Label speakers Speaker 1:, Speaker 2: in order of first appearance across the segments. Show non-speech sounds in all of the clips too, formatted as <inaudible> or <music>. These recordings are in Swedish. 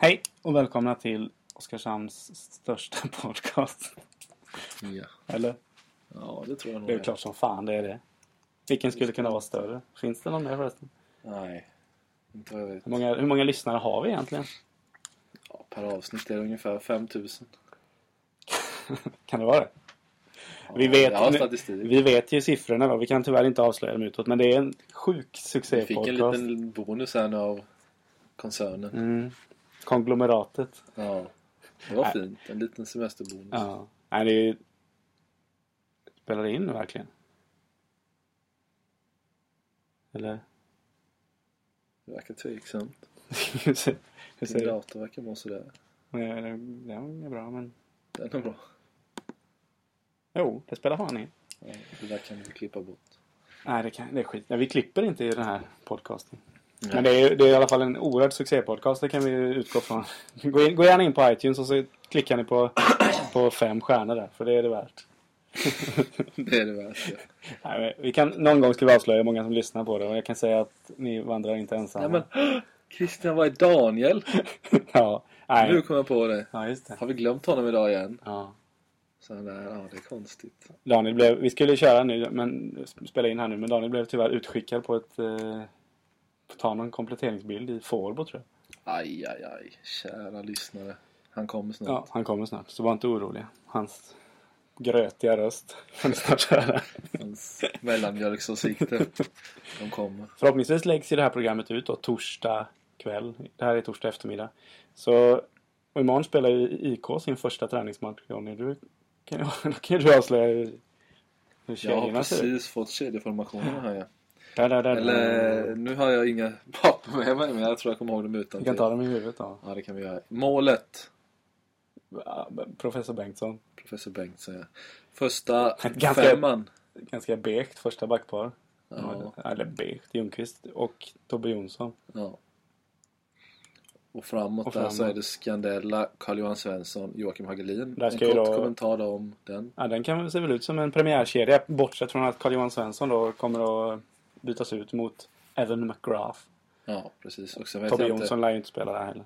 Speaker 1: Hej och välkomna till Oskarshamns största <laughs> podcast.
Speaker 2: Ja.
Speaker 1: Eller?
Speaker 2: ja, det tror jag nog.
Speaker 1: Det är klart som fan det är det. Vilken skulle kunna vara större? Finns det någon mer förresten?
Speaker 2: Nej, inte vad jag vet.
Speaker 1: Hur många, hur många lyssnare har vi egentligen?
Speaker 2: Ja, per avsnitt är det ungefär 5000.
Speaker 1: Kan det vara det?
Speaker 2: Ja,
Speaker 1: Vi vet,
Speaker 2: jag har
Speaker 1: nu-
Speaker 2: statistik. Vi,
Speaker 1: vi vet ju siffrorna va? Vi kan tyvärr inte avslöja dem utåt men det är en sjuk
Speaker 2: fick en
Speaker 1: succépodcast.
Speaker 2: liten bonus här nu av koncernen.
Speaker 1: Mm. Konglomeratet.
Speaker 2: Ja, det var
Speaker 1: Nej.
Speaker 2: fint. En liten semesterbonus.
Speaker 1: Äh. Ja. Nej, det är ju... Spelar det in nu verkligen? Eller? <laughs>
Speaker 2: Det verkar tveksamt.
Speaker 1: hur ser, hur ser
Speaker 2: Min
Speaker 1: det?
Speaker 2: dator verkar må sådär.
Speaker 1: Nej, det- Den är bra men...
Speaker 2: Den är bra.
Speaker 1: Jo, det spelar fan in.
Speaker 2: Ja, det där kan vi klippa bort.
Speaker 1: Nej, det, kan, det är skit. Nej, vi klipper inte i den här podcasten.
Speaker 2: Nej.
Speaker 1: Men det är, ju- det är i alla fall en oerhörd succépodcast, det kan vi ju utgå från. Gå, in, gå gärna in på iTunes och så klickar ni på, på fem stjärnor där, för det är det värt.
Speaker 2: <laughs> Det är det värt. Ja.
Speaker 1: Nej, men vi kan, någon gång ska vi avslöja hur många som lyssnar på det och jag kan säga att ni vandrar inte ensamma.
Speaker 2: Nej men, <gasps> Christian, var är Daniel?
Speaker 1: ja, nej.
Speaker 2: Nu kom jag på det.
Speaker 1: Ja, just det.
Speaker 2: Har vi glömt honom idag igen?
Speaker 1: Ja.
Speaker 2: Så han där, ja det är konstigt.
Speaker 1: Daniel blev, vi skulle köra nu, men spela in här nu, men Daniel blev tyvärr utskickad på ett... Eh, på ta någon kompletteringsbild i Fårbo tror jag.
Speaker 2: Aj, aj, aj. Kära lyssnare. Han kommer snart.
Speaker 1: Ja, han kommer snart, så var inte oroliga. Hans grötiga röst <laughs> får ni snart höra.
Speaker 2: Hans mellanmjölksåsikter. De kommer.
Speaker 1: Förhoppningsvis läggs ju det här programmet ut då torsdag kväll. Det här är torsdag eftermiddag. Så och imorgon spelar ju IK sin första träningsmatch. Johnny, du kan ju, <laughs> då kan ju du avslöja hur, hur
Speaker 2: Jag har
Speaker 1: kedjorna ser ut.
Speaker 2: precis fått kedjeformationen här ja.
Speaker 1: Där, där, där,
Speaker 2: Eller nu har jag inga papper med mig men jag tror jag kommer ihåg dem
Speaker 1: Vi
Speaker 2: utan
Speaker 1: kan ta dem i huvudet då.
Speaker 2: Ja det kan vi göra. Målet.
Speaker 1: Ja, Professor Bengtsson.
Speaker 2: Professor Bengtsson ja. Första
Speaker 1: Ganska-
Speaker 2: femman.
Speaker 1: Ganska begt första backpar.
Speaker 2: Ja,
Speaker 1: Eller begt, Ljungqvist och Tobbe Jonsson.
Speaker 2: ja. Och framåt
Speaker 1: Och
Speaker 2: där så
Speaker 1: framåt.
Speaker 2: är det Skandella, Carl-Johan Svensson, Joakim Hagelin.
Speaker 1: Där
Speaker 2: En
Speaker 1: ska ju
Speaker 2: kort
Speaker 1: då-
Speaker 2: kommentar då om den.
Speaker 1: Ja, den kan se väl ut som en premiärkedja bortsett från att Carl-Johan Svensson då kommer att bytas ut mot Evan McGrath.
Speaker 2: Ja precis. Och sen vet
Speaker 1: Tobbe
Speaker 2: jag inte.
Speaker 1: Jonsson lär ju inte spela där heller.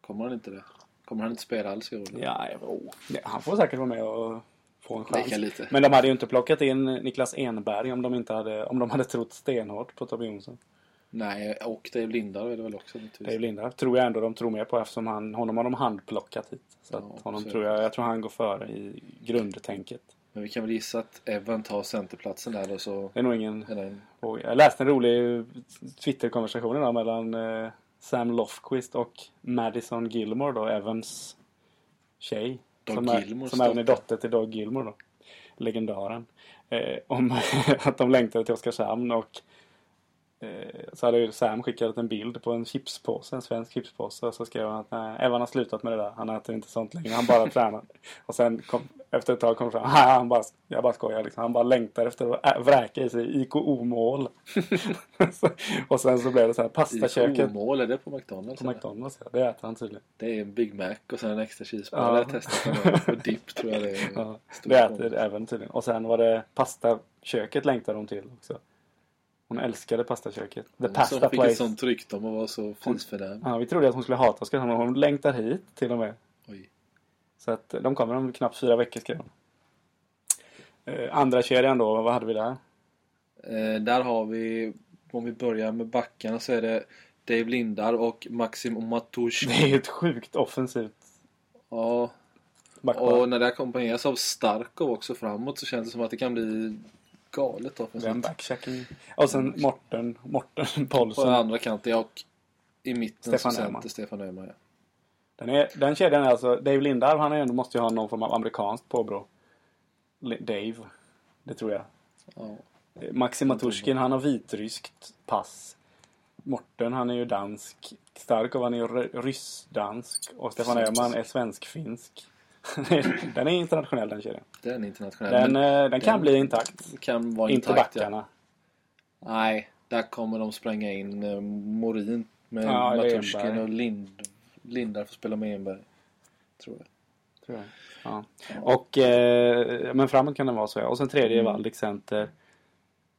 Speaker 2: Kommer han inte det? Kommer han inte spela alls i år?
Speaker 1: Ja, jo. Ja, han får säkert vara med och få en chans.
Speaker 2: Leka lite.
Speaker 1: Men de hade ju inte plockat in Niklas Enberg om de, inte hade, om de hade trott stenhårt på Tobbe Jonsson.
Speaker 2: Nej, och Dave Lindahl är det väl också
Speaker 1: Dave
Speaker 2: naturligtvis.
Speaker 1: Lindahl tror jag ändå de tror mer på eftersom han, honom har de handplockat hit. Så
Speaker 2: Ja,
Speaker 1: att honom
Speaker 2: så är
Speaker 1: tror jag, jag tror han går före i grundtänket.
Speaker 2: Men vi kan väl gissa att Evan tar centerplatsen där och så
Speaker 1: Det är nog ingen
Speaker 2: är den...
Speaker 1: Och jag läste en rolig Twitter-konversation idag mellan eh, Sam Lofquist och Madison Gilmore då, Evans tjej.
Speaker 2: Doug
Speaker 1: som är,
Speaker 2: Gilmores
Speaker 1: som även är
Speaker 2: dotter.
Speaker 1: dotter till Doug Gilmore då. Legendaren. Eh, om <laughs> att de längtade till Oskarshamn och eh, så hade ju Sam skickat en bild på en chipspåse, en svensk chipspåse. Och så skrev han att nej, Evan har slutat med det där. Han äter inte sånt längre. Han bara
Speaker 2: <laughs>
Speaker 1: tränar. Och sen kom, efter ett tag kom det fram. <laughs> "Haha, Han bara, jag bara skojar liksom. Han bara längtar efter att ä- vräka i sig IKO-mål. <laughs> Så- och sen så blev det så här
Speaker 2: I
Speaker 1: pastaköket
Speaker 2: mål är det på McDonalds?
Speaker 1: på McDonalds. ja. Det äter han tydligen.
Speaker 2: Det är en Big Mac och sen en extra cheeseburgare.
Speaker 1: Ja.
Speaker 2: Det har
Speaker 1: <laughs>
Speaker 2: jag testat någon gång. Och dipp tror jag det är.
Speaker 1: Ja,
Speaker 2: Stor
Speaker 1: det
Speaker 2: kombo.
Speaker 1: äter även tydligen. Och sen var det pastaköket längtade hon till också. Hon älskade pastaköket. The
Speaker 2: Hon som
Speaker 1: pasta
Speaker 2: fick ett
Speaker 1: place.
Speaker 2: sånt rykte om att vara så fisfördärv.
Speaker 1: Ja, vi trodde att hon skulle hata Oskarshamn men hon längtar hit till och med.
Speaker 2: Oj.
Speaker 1: Så att eh, de kommer om knappt fyra veckor skrev de. Eh, andra kedjan då, vad hade vi där? <laughs>
Speaker 2: Eh, där har vi, om vi börjar med backarna så är det Dave Lindar och Maxim Omatush.
Speaker 1: Det är ju ett sjukt offensivt
Speaker 2: Ja,
Speaker 1: backpar.
Speaker 2: och när det ackompanjeras av E Starkov också framåt så känns det som att det kan bli galet offensivt.
Speaker 1: Den backchecking. Och sen Morten, Morten <laughs>
Speaker 2: På den
Speaker 1: Paulsen.
Speaker 2: andra kanten, ja, och i mitten
Speaker 1: Stefan
Speaker 2: så center
Speaker 1: Öhman.
Speaker 2: Stefan Öhman. Ja.
Speaker 1: Den, är, den kedjan är alltså, Dave Lindarw han är ändå, måste ju ha någon form av amerikanskt påbrå. Li- Dave, det tror jag.
Speaker 2: Ja.
Speaker 1: Eh, Maxima Turskin, han har vitryskt pass. Morten, han är ju dansk. Starkov, han är ju ry- ryssdansk. Och Stefan Öhman är svensk-finsk. <laughs> den är internationell den kedjan.
Speaker 2: Den är internationell.
Speaker 1: Den,
Speaker 2: men
Speaker 1: eh, den kan
Speaker 2: den-
Speaker 1: bli intakt.
Speaker 2: kan vara
Speaker 1: Inte
Speaker 2: intakt. ja.
Speaker 1: backarna.
Speaker 2: Nej, där kommer de spränga in eh, Morin med
Speaker 1: Ja, eller
Speaker 2: Maturskin
Speaker 1: Enberg.
Speaker 2: och Lind, Lindar får spela med Enberg. Tror jag.
Speaker 1: Tror jag.
Speaker 2: Mm.
Speaker 1: Ja. Och, eh, men framåt kan den vara så. ja. Och sen tredje är Valdek Center.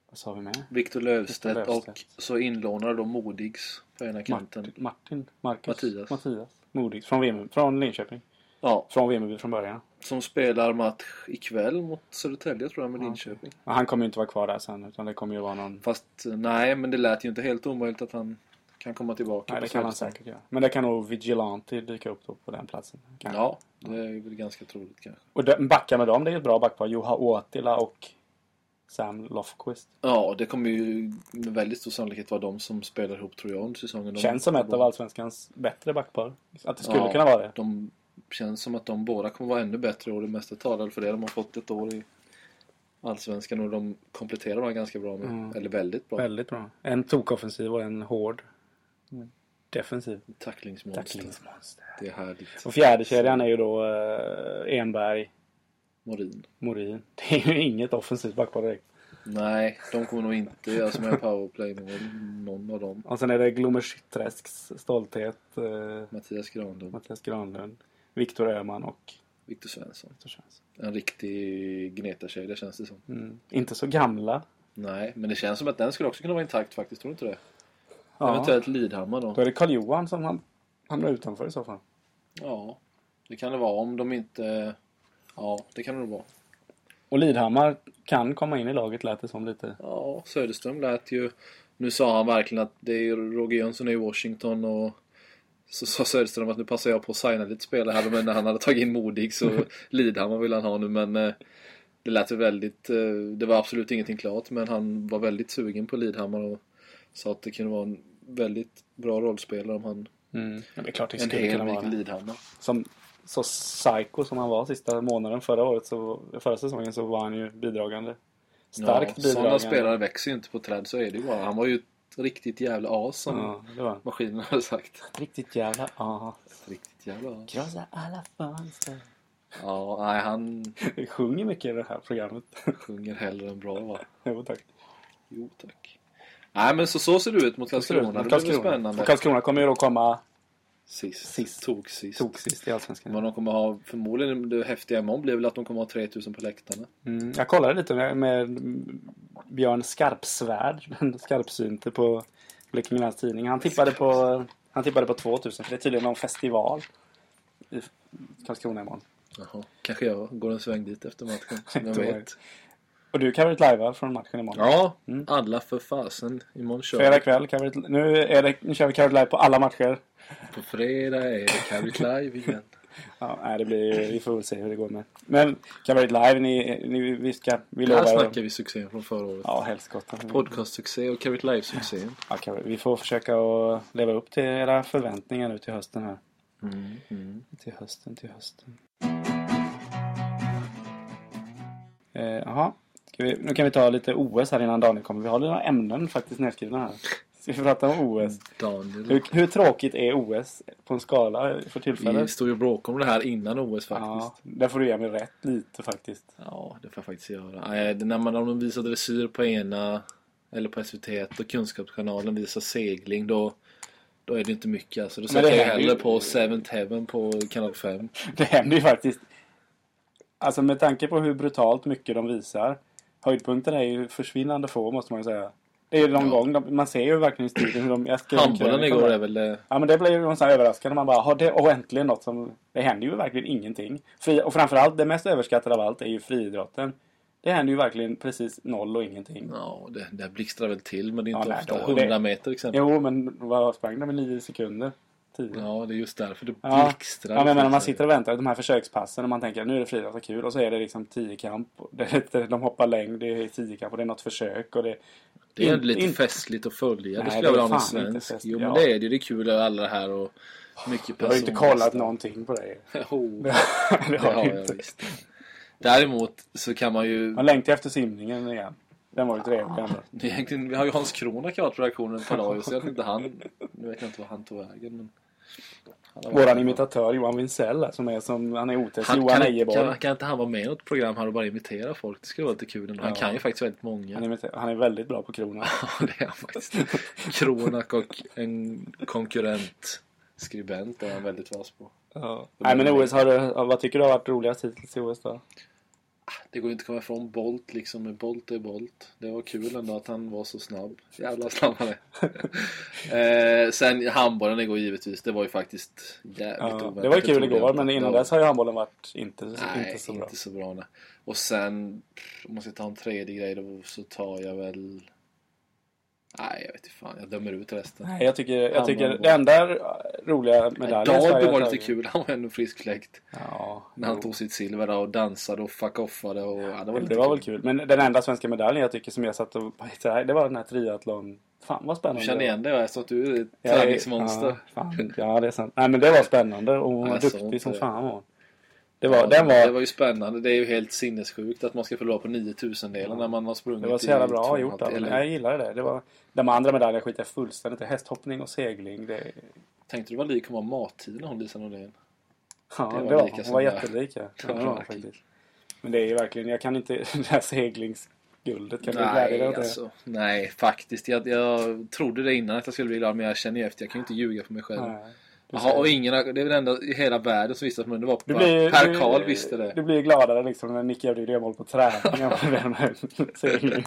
Speaker 1: Vad sa vi med?
Speaker 2: Viktor Löfstedt,
Speaker 1: Viktor Löfstedt.
Speaker 2: och så inlånade då Modigs på ena kanten.
Speaker 1: Martin, Martin Marcus,
Speaker 2: Mattias.
Speaker 1: Mattias. Modig. Från, Vem, från Linköping.
Speaker 2: Ja,
Speaker 1: Från Vemmerby från början.
Speaker 2: som spelar match ikväll mot Södertälje tror jag med Linköping.
Speaker 1: Men han kommer ju inte vara kvar där sen utan det kommer ju vara någon...
Speaker 2: Fast eh, nej, men det lät ju inte helt omöjligt att han kan komma tillbaka.
Speaker 1: Nej,
Speaker 2: på
Speaker 1: det kan han
Speaker 2: släppstånd.
Speaker 1: säkert göra. Men det kan nog Vigilante dyka upp då på den platsen. kanske.
Speaker 2: Ja, det är väl ganska troligt kanske.
Speaker 1: Och de, backa med dem, det är ett bra backpar. Juha Åtila och Sam Lofquist.
Speaker 2: Ja, det kommer ju med väldigt stor sannolikhet vara de som spelar ihop tror jag under säsongen. De-
Speaker 1: Känns som ett
Speaker 2: de-
Speaker 1: av Allsvenskans bättre backpar. Att det skulle
Speaker 2: Ja.
Speaker 1: kunna vara det.
Speaker 2: De känns som att de båda kommer vara ännu bättre och det mesta talar för det. De har fått ett år i Allsvenskan och de kompletterar varandra ganska bra med,
Speaker 1: Mm.
Speaker 2: eller väldigt bra.
Speaker 1: Väldigt bra. En tokoffensiv och en hård defensiv.
Speaker 2: Tacklingsmål.
Speaker 1: Tacklingsmonster.
Speaker 2: Det är härligt.
Speaker 1: Och fjärdekedjan är ju då eh, Enberg,
Speaker 2: Morin.
Speaker 1: Morin. <laughs> Det är ju inget offensivt backpar direkt.
Speaker 2: Nej, de kommer nog inte göra som en powerplay med någon av dem.
Speaker 1: Och sen är det Glommersträsks stolthet. Eh,
Speaker 2: Mattias Granlund,
Speaker 1: Mattias Granlund, Viktor Öhman och
Speaker 2: Viktor Svensson.
Speaker 1: Viktor Svensson.
Speaker 2: En riktig gnetartjej, det känns det som.
Speaker 1: Mm. Inte så gamla.
Speaker 2: Nej, men det känns som att den skulle också kunna vara intakt faktiskt, tror du inte det?
Speaker 1: Ja.
Speaker 2: Eventuellt Lidhammar då.
Speaker 1: Då är det Karl-Johan som ham- hamnar utanför i så fall.
Speaker 2: Ja, det kan det vara om de inte... Ja, det kan det nog vara.
Speaker 1: Och Lidhammar kan komma in i laget lät det som lite.
Speaker 2: Ja, Söderström lät ju... Nu sa han verkligen att det är ju Roger Jönsson är i Washington och så sa Söderström att nu passar jag på att signa lite spelare här men när han hade tagit in Modig så Lidhammar vill han ha nu men eh, det lät ju väldigt... eh, Det var absolut ingenting klart men han var väldigt sugen på Lidhammar och sa att det kunde vara en väldigt bra rollspelare om han...
Speaker 1: Mm. Ja, det är klart det
Speaker 2: En
Speaker 1: skulle kunna vara
Speaker 2: hel
Speaker 1: det.
Speaker 2: Lidhammar.
Speaker 1: Som så psycho som han var sista månaden förra året så, förra säsongen så var han ju bidragande. Starkt
Speaker 2: ja,
Speaker 1: bidragande.
Speaker 2: Sådana spelare växer ju inte på träd, så är det ju bara. Han var ju ett riktigt jävla as som
Speaker 1: Ja, det var han.
Speaker 2: maskinen <laughs> hade sagt.
Speaker 1: Riktigt jävla ah.
Speaker 2: Ett riktigt jävla as.
Speaker 1: Krossa alla <laughs> fönster.
Speaker 2: Ja, nej han
Speaker 1: Vi sjunger mycket i det här programmet. <laughs>
Speaker 2: sjunger hellre än bra va?
Speaker 1: jo tack.
Speaker 2: Jo tack. Nej men så, så ser du ut mot Karlskrona.
Speaker 1: Karlskrona.
Speaker 2: Det blir
Speaker 1: Karlskrona.
Speaker 2: spännande.
Speaker 1: Och Karlskrona kommer ju då komma
Speaker 2: Sist.
Speaker 1: Sist.
Speaker 2: Tok sist.
Speaker 1: toksist i Allsvenskan.
Speaker 2: Men de kommer ha, förmodligen det häftiga imorgon blir väl att de kommer ha 3000 på läktarna.
Speaker 1: Mm, jag kollade lite med, med Björn Skarpsvärd, <laughs> den skarpsynte på Blekinge Läns Tidning. Han tippade på, han tippade på 2000 för det är tydligen någon festival i Karlskrona imorgon.
Speaker 2: Jaha. Kanske jag går en sväng dit efter matchen. <laughs> Vem
Speaker 1: Inte
Speaker 2: vet.
Speaker 1: vet. Och du kan väl lajva från matchen imorgon?
Speaker 2: Ja, alla för fasen. Imorgon kör
Speaker 1: Fredag
Speaker 2: vi.
Speaker 1: kväll, kan vi, nu, är det, nu kör vi Carrot Live på alla matcher.
Speaker 2: På fredag är det Carrick Live igen.
Speaker 1: Ja, nej, det blir, ju- vi får väl se hur det går med. Men Carrot Live, ni, ni, vi, ska, vi
Speaker 2: Här
Speaker 1: lovar.
Speaker 2: snackar vi succén från förra året.
Speaker 1: Ja, helst gott.
Speaker 2: Podcast-succé och Carrick Live-succén.
Speaker 1: Ja, kan vi, vi får försöka att leva upp till era förväntningar nu till hösten här.
Speaker 2: Mm, mm.
Speaker 1: Till hösten, till hösten. Eh, Jaha. Ska vi- nu kan vi ta lite OS här innan Daniel kommer. Vi har några ämnen faktiskt nedskrivna här. Ska vi prata om OS?
Speaker 2: Daniel.
Speaker 1: Hur, hur tråkigt är OS på en skala för
Speaker 2: Vi
Speaker 1: tillfället?
Speaker 2: stod ju och bråkade om det här innan OS
Speaker 1: Ja,
Speaker 2: faktiskt.
Speaker 1: där får du ge mig rätt lite faktiskt.
Speaker 2: Ja, det får jag faktiskt göra. Nej, det- När man om de visar dressyr på ena eller på SVT och Kunskapskanalen visar segling då, då är det inte mycket alltså. Då
Speaker 1: Men det
Speaker 2: sätter jag
Speaker 1: händer ju-
Speaker 2: hellre på Seventh Heaven på kanal 5.
Speaker 1: Det händer ju faktiskt. Alltså med tanke på hur brutalt mycket de visar. Höjdpunkterna är ju försvinnande få måste man ju säga. Det är ju någon
Speaker 2: Ja.
Speaker 1: gång, de, man ser ju verkligen i studion hur de... jag skrev en
Speaker 2: Handbollen
Speaker 1: krönika om
Speaker 2: igår
Speaker 1: det.
Speaker 2: är väl... eh,
Speaker 1: Ja men det blir ju någon sån här överraskande. Man bara, har det och äntligen något som... Det händer ju verkligen ingenting. Fri, och framförallt, det mest överskattade av allt är ju friidrotten. Det händer ju verkligen precis noll och ingenting.
Speaker 2: Ja, det, det blixtrar väl till men det är
Speaker 1: Ja,
Speaker 2: inte
Speaker 1: nej,
Speaker 2: ofta.
Speaker 1: då- det-
Speaker 2: 100 meter exempelvis.
Speaker 1: Jo men vad sprang de i nio sekunder? Tio?
Speaker 2: Ja, det är just därför det
Speaker 1: Ja.
Speaker 2: blixtrar.
Speaker 1: Ja, men, men om man sitter och väntar på de här försökspassen och man tänker nu är det friidrott och kul och så är det liksom tiokamp. och det- <laughs> De hoppar längd, det är tiokamp och det är något försök och det...
Speaker 2: Det är
Speaker 1: In-
Speaker 2: lite
Speaker 1: in-
Speaker 2: festligt att följa.
Speaker 1: Nej,
Speaker 2: det skulle
Speaker 1: det
Speaker 2: jag
Speaker 1: är
Speaker 2: vilja ha
Speaker 1: fan
Speaker 2: någon
Speaker 1: inte
Speaker 2: svensk.
Speaker 1: festligt.
Speaker 2: Jo, men
Speaker 1: Ja.
Speaker 2: det är det. ju. Det är kul att alla det här och mycket
Speaker 1: Jag har ju inte kollat någonting på dig.
Speaker 2: <laughs> Jo,
Speaker 1: Det <laughs>
Speaker 2: det har jag visst. Däremot så kan man ju...
Speaker 1: Man längtar efter simningen igen. Den var ju trevlig ändå.
Speaker 2: Egentligen, vi har ju Hans Krona kvar på redaktionen ett par dagar så jag vet inte han... Nu vet jag inte vad han tog vägen men... han har-
Speaker 1: Våran imitatör Johan Wintzell som är som, han är otest,
Speaker 2: han,
Speaker 1: Johan
Speaker 2: kan,
Speaker 1: Ejeborg.
Speaker 2: kan, kan inte han vara med i något program här och bara imitera folk? Det skulle vara lite kul ändå. Han
Speaker 1: Ja.
Speaker 2: kan ju faktiskt väldigt många.
Speaker 1: Han, imiter- han är väldigt bra på kronan.
Speaker 2: <laughs> Ja, det är han faktiskt. Kronak och en konkurrent skribent är han väldigt vass på.
Speaker 1: Nej men OS, har du, vad tycker du har varit roligast hittills i OS då?
Speaker 2: det går inte att komma ifrån Bolt liksom. Men Bolt är Bolt. Det var kul ändå att han var så snabb. Jävla snabb han
Speaker 1: <laughs>
Speaker 2: är. eh, sen handbollen igår givetvis. Det var ju faktiskt jävligt
Speaker 1: Ja,
Speaker 2: oväntat.
Speaker 1: det var ju
Speaker 2: Jag
Speaker 1: kul
Speaker 2: trodde
Speaker 1: igår
Speaker 2: jag-
Speaker 1: men innan
Speaker 2: Ja.
Speaker 1: dess har ju handbollen varit inte,
Speaker 2: Nej,
Speaker 1: inte så bra.
Speaker 2: nej. Och sen, pff, om man ska ta en tredje grej då så tar jag väl... Nej, jag vet inte fan. Jag dömer ut resten.
Speaker 1: Nej, jag tycker, jag
Speaker 2: Handboll.
Speaker 1: tycker det enda roliga medaljen Sverige
Speaker 2: Dalby
Speaker 1: har
Speaker 2: var lite
Speaker 1: tagit-
Speaker 2: kul. Han var ändå frisk fläkt.
Speaker 1: Ja,
Speaker 2: När han
Speaker 1: jo.
Speaker 2: tog sitt silver där och dansade och fuck-offade och... Ja, det var lite
Speaker 1: Det var väl kul. Men den enda svenska medaljen jag tycker som jag satt och så här, det var den här triathlon. Fan vad spännande.
Speaker 2: Du känner igen dig va? Jag sa att du är ett
Speaker 1: det var. Jag är-
Speaker 2: träningsmonster.
Speaker 1: Ja, fan. ja, det är sant. Nej men det var spännande och hon
Speaker 2: Ja,
Speaker 1: var
Speaker 2: jag såg inte
Speaker 1: duktig som
Speaker 2: det.
Speaker 1: fan var hon. Det var, den var,
Speaker 2: Det var ju spännande. Det är ju helt sinnessjukt att man ska förlora på 9000 delar när man har sprungit
Speaker 1: det var så jävla
Speaker 2: i
Speaker 1: bra
Speaker 2: 2,5
Speaker 1: gjort alltså. av henne.
Speaker 2: eller-
Speaker 1: Jag gillade det. det var, de andra medaljerna skiter jag fullständigt i. Hästhoppning och segling. Det,
Speaker 2: Tänkte du vad lik hon var mattiden hon Lisa Norlén?
Speaker 1: ja,
Speaker 2: Det
Speaker 1: det
Speaker 2: var
Speaker 1: var,
Speaker 2: lika
Speaker 1: hon
Speaker 2: som
Speaker 1: var
Speaker 2: jag.
Speaker 1: jättelik. Ja.
Speaker 2: Det
Speaker 1: Ja,
Speaker 2: var
Speaker 1: det var hon
Speaker 2: verkligen.
Speaker 1: faktiskt. Men det är ju verkligen, jag kan inte <laughs> det här seglingsguldet. Kan du glädja dig åt
Speaker 2: Nej,
Speaker 1: det?
Speaker 2: alltså, nej, faktiskt. Jag, jag trodde det innan att jag skulle bli glad, men jag känner ju efter. Jag kan ju inte ljuga för mig själv.
Speaker 1: Nej. Du
Speaker 2: Jaha,
Speaker 1: ser.
Speaker 2: och ingen, har- det är väl enda i hela världen som visste att men det var
Speaker 1: Du blir,
Speaker 2: Per
Speaker 1: du-
Speaker 2: Karl visste det. <laughs>
Speaker 1: Du blir gladare liksom när Nicky gjorde mål på träningen. med <laughs> den här seglingen.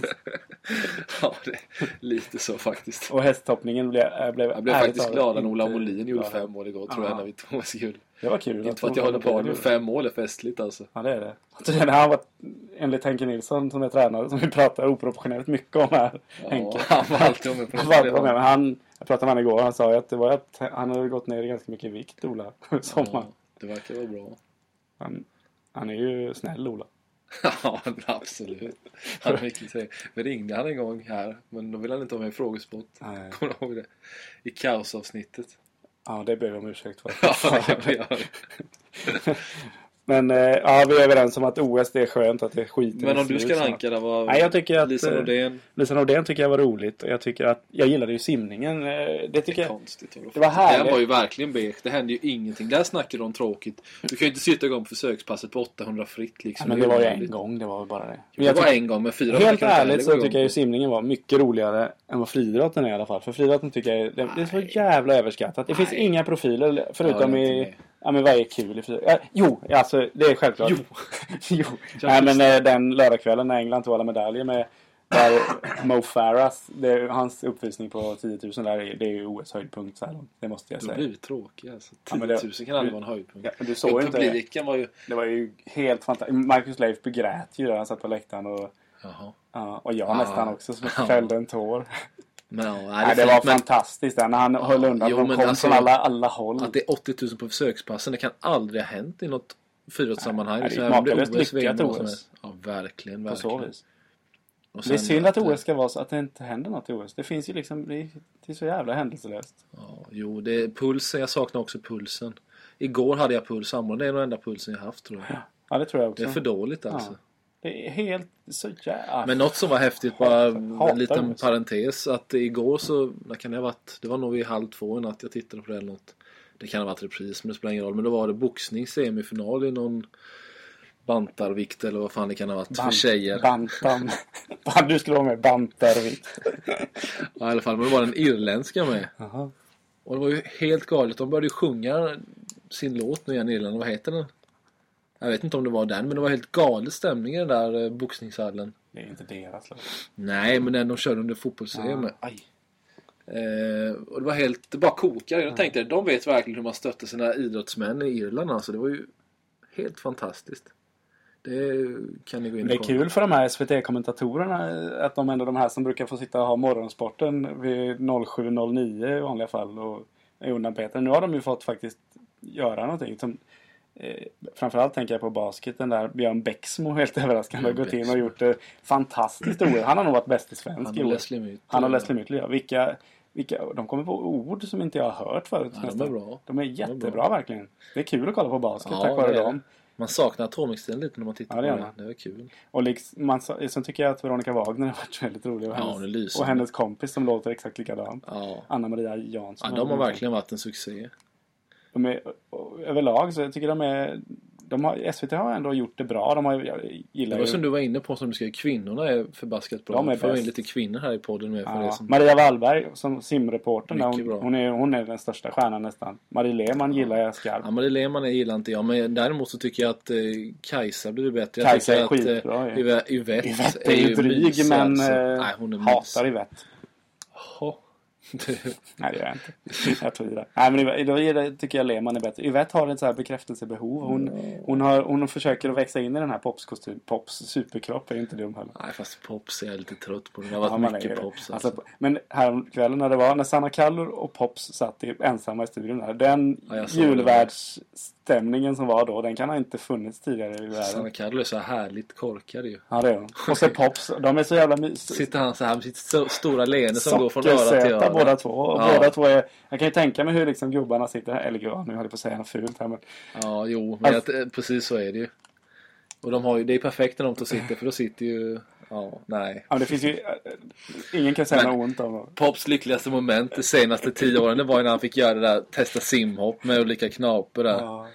Speaker 2: ja, det, lite så faktiskt.
Speaker 1: och hästhoppningen blev, jag blev,
Speaker 2: Jag blev
Speaker 1: ärligt
Speaker 2: faktiskt
Speaker 1: talat
Speaker 2: glad när
Speaker 1: inte
Speaker 2: Ola Molin gjorde
Speaker 1: glad.
Speaker 2: fem mål igår, tror jag,
Speaker 1: Ja.
Speaker 2: när vi tog oss guld.
Speaker 1: Det var kul.
Speaker 2: Inte för att jag
Speaker 1: de-
Speaker 2: håller på men fem mål är festligt alltså.
Speaker 1: Ja, det är det. Tydligen har han varit, enligt Henke Nilsson som är tränare, som vi pratar oproportionerligt mycket om här,
Speaker 2: Ja,
Speaker 1: Henke.
Speaker 2: han var alltid med på
Speaker 1: Han var
Speaker 2: det.
Speaker 1: på med, men han, jag pratade med honom igår och han sa ju att, det var att han hade gått ner i ganska mycket vikt, Ola. <laughs> Som
Speaker 2: Ja,
Speaker 1: han.
Speaker 2: det verkar vara <laughs> bra.
Speaker 1: Han, han är ju snäll, Ola.
Speaker 2: Ja, men absolut. Han är mycket trevlig. Vi ringde han en gång här, men då ville han inte ha med i frågesport. <laughs>
Speaker 1: Nej.
Speaker 2: Kommer du ihåg det? I <laughs> kaosavsnittet.
Speaker 1: Ja, det ber vi om ursäkt för.
Speaker 2: <laughs> Ja, det gör jag.
Speaker 1: Men eh, ja, vi är överens om att OS det är skönt att det skiter
Speaker 2: Men om
Speaker 1: i
Speaker 2: du
Speaker 1: slut
Speaker 2: ska
Speaker 1: snart.
Speaker 2: ranka det, vad...
Speaker 1: Nej, jag tycker att
Speaker 2: Lisa
Speaker 1: eh,
Speaker 2: Nordén.
Speaker 1: Lisa Nordén tycker jag var roligt. Och jag tycker att jag gillade ju simningen. eh, Det
Speaker 2: Det
Speaker 1: tycker
Speaker 2: är
Speaker 1: jag.
Speaker 2: konstigt.
Speaker 1: Det var härligt.
Speaker 2: Den var ju verkligen beige. Det hände ju ingenting. Där snackar de om tråkigt. Du kan ju inte sitta igång försökspasset på 800 fritt
Speaker 1: Ja,
Speaker 2: liksom.
Speaker 1: men det var ju
Speaker 2: omöjligt.
Speaker 1: en gång, det var väl bara det. Men
Speaker 2: Det
Speaker 1: jag
Speaker 2: var
Speaker 1: tycker,
Speaker 2: en gång, men fyra
Speaker 1: helt ärligt så
Speaker 2: jag
Speaker 1: tycker jag ju simningen var mycket roligare än vad friidrotten är i alla fall. För friidrotten tycker jag är, det, det är så jävla överskattat. Det finns
Speaker 2: Nej.
Speaker 1: inga profiler
Speaker 2: Ja,
Speaker 1: förutom
Speaker 2: det är inte
Speaker 1: i...
Speaker 2: med.
Speaker 1: Ja men vad är kul i friidrott? Ja, jo, alltså det är självklart.
Speaker 2: Jo.
Speaker 1: <laughs> jo. Nej men eh, den lördagskvällen när England tog alla medaljer med där Mo Farahs, det, hans uppvisning på 10 000 där, är- det är ju OS höjdpunkt så här långt. Det måste jag
Speaker 2: De
Speaker 1: säga.
Speaker 2: blir ju tråkiga alltså. 10
Speaker 1: Ja,
Speaker 2: 000
Speaker 1: men det-
Speaker 2: kan aldrig vara en höjdpunkt.
Speaker 1: Ja, men du såg ju inte det.
Speaker 2: Publiken var ju...
Speaker 1: Det var ju helt fantastiskt. Marcus Leif begrät ju där han satt på läktaren och,
Speaker 2: Jaha.
Speaker 1: ja, och jag
Speaker 2: Ja.
Speaker 1: nästan också som
Speaker 2: Ja.
Speaker 1: fällde en tår.
Speaker 2: Men, ja,
Speaker 1: Nej,
Speaker 2: nej,
Speaker 1: det
Speaker 2: är
Speaker 1: var
Speaker 2: fint, men
Speaker 1: fantastiskt där när han höll undan.
Speaker 2: jo,
Speaker 1: de
Speaker 2: men
Speaker 1: kom
Speaker 2: alltså-
Speaker 1: från alla, alla håll.
Speaker 2: Att det är 80 000 på försökspassen, det kan aldrig ha hänt i något friidrottssammanhang.
Speaker 1: Nej, det är
Speaker 2: Så
Speaker 1: ett
Speaker 2: även om
Speaker 1: makalöst
Speaker 2: OS, VM,
Speaker 1: lyckat
Speaker 2: vad som
Speaker 1: OS.
Speaker 2: helst. Ja, verkligen, verkligen.
Speaker 1: på så vis.
Speaker 2: Och
Speaker 1: Det är
Speaker 2: sen
Speaker 1: synd att OS ska vara så att det inte händer något i OS. Det finns ju liksom, det är, det är så jävla händelselöst.
Speaker 2: eh, Ja, jo, det är pulsen. Jag saknar också pulsen. Igår hade jag puls, samma. Det är den enda pulsen jag haft tror jag.
Speaker 1: Ja, det tror jag också.
Speaker 2: Det är för dåligt alltså.
Speaker 1: Ja. Det är helt så jävla...
Speaker 2: Men något som var häftigt, bara
Speaker 1: hatar
Speaker 2: en liten
Speaker 1: OS.
Speaker 2: parentes. Att igår så, när kan det ha varit? Det var nog vid halv två i natt jag tittade på det eller något. Det kan ha varit repris men det spelar ingen roll. Men då var det boxning semifinal i någon bantarvikt eller vad fan det kan ha varit för tjejer.
Speaker 1: Bantan. <laughs> Fan, du skulle vara med Bantarvitt.
Speaker 2: Ja, i alla fall, men då var den irländska med.
Speaker 1: Jaha.
Speaker 2: Och det var ju helt galet. De började ju sjunga sin låt nu igen i Irland. Vad heter den? Jag vet inte om det var den, men det var helt galet stämning i den där eh, boxningshallen.
Speaker 1: Det är inte deras låt.
Speaker 2: Nej, men den de körde under fotbolls
Speaker 1: Ja.
Speaker 2: Aj. Eh, och det var helt, det bara kokade. Jag tänkte, de vet verkligen hur man stöttar sina idrottsmän i Irland alltså. Det var ju helt fantastiskt. Det kan ni gå in
Speaker 1: Det är
Speaker 2: och
Speaker 1: kul för de här SVT-kommentatorerna eh, att de ändå de här som brukar få sitta och ha morgonsporten vid 07.09 i vanliga fall och är undanpetade. Nu har de ju fått faktiskt göra någonting. Som, eh, framförallt tänker jag på basketen där Björn Bexmo <laughs> helt överraskande har
Speaker 2: Björn
Speaker 1: gått in och
Speaker 2: Bexmo.
Speaker 1: gjort det fantastiskt i OS. Han har nog varit bäst i svensk
Speaker 2: Han
Speaker 1: i
Speaker 2: och
Speaker 1: OS.
Speaker 2: Leslie eh, Myth.
Speaker 1: Han och Leslie Mytler, ja. Vilka, vilka, de kommer på ord som inte jag har hört förut.
Speaker 2: Ja, de är
Speaker 1: nästan.
Speaker 2: bra.
Speaker 1: De är
Speaker 2: är bra.
Speaker 1: jättebra verkligen. Det är kul att kolla på basket
Speaker 2: Ja,
Speaker 1: tack vare
Speaker 2: det är
Speaker 1: dem.
Speaker 2: det. Man saknar atomixten lite när man tittar
Speaker 1: Ja, det
Speaker 2: på
Speaker 1: gör
Speaker 2: den.
Speaker 1: man.
Speaker 2: Det var kul.
Speaker 1: Och liksom, man, sa- sen tycker jag att Veronica Wagner har varit väldigt rolig. Och
Speaker 2: Ja, hon är
Speaker 1: hennes,
Speaker 2: lysande.
Speaker 1: och hennes kompis som låter exakt likadan.
Speaker 2: Ja.
Speaker 1: Anna Maria Jansson.
Speaker 2: Ja, de har verkligen varit en succé.
Speaker 1: De är, och överlag så jag tycker de är... de har, SVT har ändå gjort det bra. De har, jag
Speaker 2: Det
Speaker 1: gillar
Speaker 2: var
Speaker 1: ju...
Speaker 2: som du var inne på som du skrev, kvinnorna är förbaskat bra.
Speaker 1: De är
Speaker 2: Får jag in
Speaker 1: bäst.
Speaker 2: lite kvinnor här i podden med för det
Speaker 1: Ja.
Speaker 2: som...
Speaker 1: Maria Wallberg som simreportern. där,
Speaker 2: Mycket
Speaker 1: Hon,
Speaker 2: bra.
Speaker 1: hon, är, hon är den största stjärnan nästan. Marie Lehmann gillar jag skarpt.
Speaker 2: Ja, men det Lehmann gillar inte jag, men däremot så tycker jag att eh, Kajsa blir bättre. Jag
Speaker 1: Kajsa
Speaker 2: tycker
Speaker 1: är skitbra
Speaker 2: att,
Speaker 1: ju.
Speaker 2: Yvette, Yvette,
Speaker 1: Yvette är ju
Speaker 2: mysig,
Speaker 1: dryg men
Speaker 2: alltså.
Speaker 1: eh,
Speaker 2: Nej, hon är
Speaker 1: hatar
Speaker 2: mysig.
Speaker 1: Yvette.
Speaker 2: Jaha. <laughs> Det-
Speaker 1: Nej det gör jag inte. Jag tvivlar. Nej men Yvette- då är det- tycker jag Lehmann är bättre. Yvette har ett så här bekräftelsebehov. Hon,
Speaker 2: Mm.
Speaker 1: hon, har, hon försöker att växa in i den här popskostym. Pops superkropp är ju inte dum heller.
Speaker 2: Nej, fast Pops är jag lite trött på. Det har
Speaker 1: Ja,
Speaker 2: varit
Speaker 1: man är ju
Speaker 2: mycket
Speaker 1: det.
Speaker 2: Pops. Alltså.
Speaker 1: Alltså, men häromkvällen när det var när Sanna Kallur och Pops satt i, ensamma i studion där. Den
Speaker 2: Ja, jag såg det.
Speaker 1: julvärldsstämningen som var då, den kan ha inte funnits tidigare i världen.
Speaker 2: Sanna Kallur är så här härligt korkad ju.
Speaker 1: Ja, det är hon. Och så Pops, de är så jävla mysiga.
Speaker 2: Sitter han så här med sitt so- stora leende som går från öra till
Speaker 1: Sockersöta
Speaker 2: öra.
Speaker 1: båda två. Och
Speaker 2: Ja.
Speaker 1: båda två är, jag kan ju tänka mig hur liksom gubbarna sitter här. Eller gud, nu höll jag på att säga något fult här men.
Speaker 2: Ja, jo, men
Speaker 1: Alltså-
Speaker 2: att, eh, precis så är det ju. Och de har ju, det är perfekt när de två sitter, för då sitter ju... Ja, nej.
Speaker 1: Ja, men det finns ju, eh, ingen kan säga
Speaker 2: Men-
Speaker 1: något ont om dem.
Speaker 2: Pops lyckligaste moment de senaste tio åren, det var ju när han fick göra det där, testa simhopp med olika knapor där.
Speaker 1: Ja.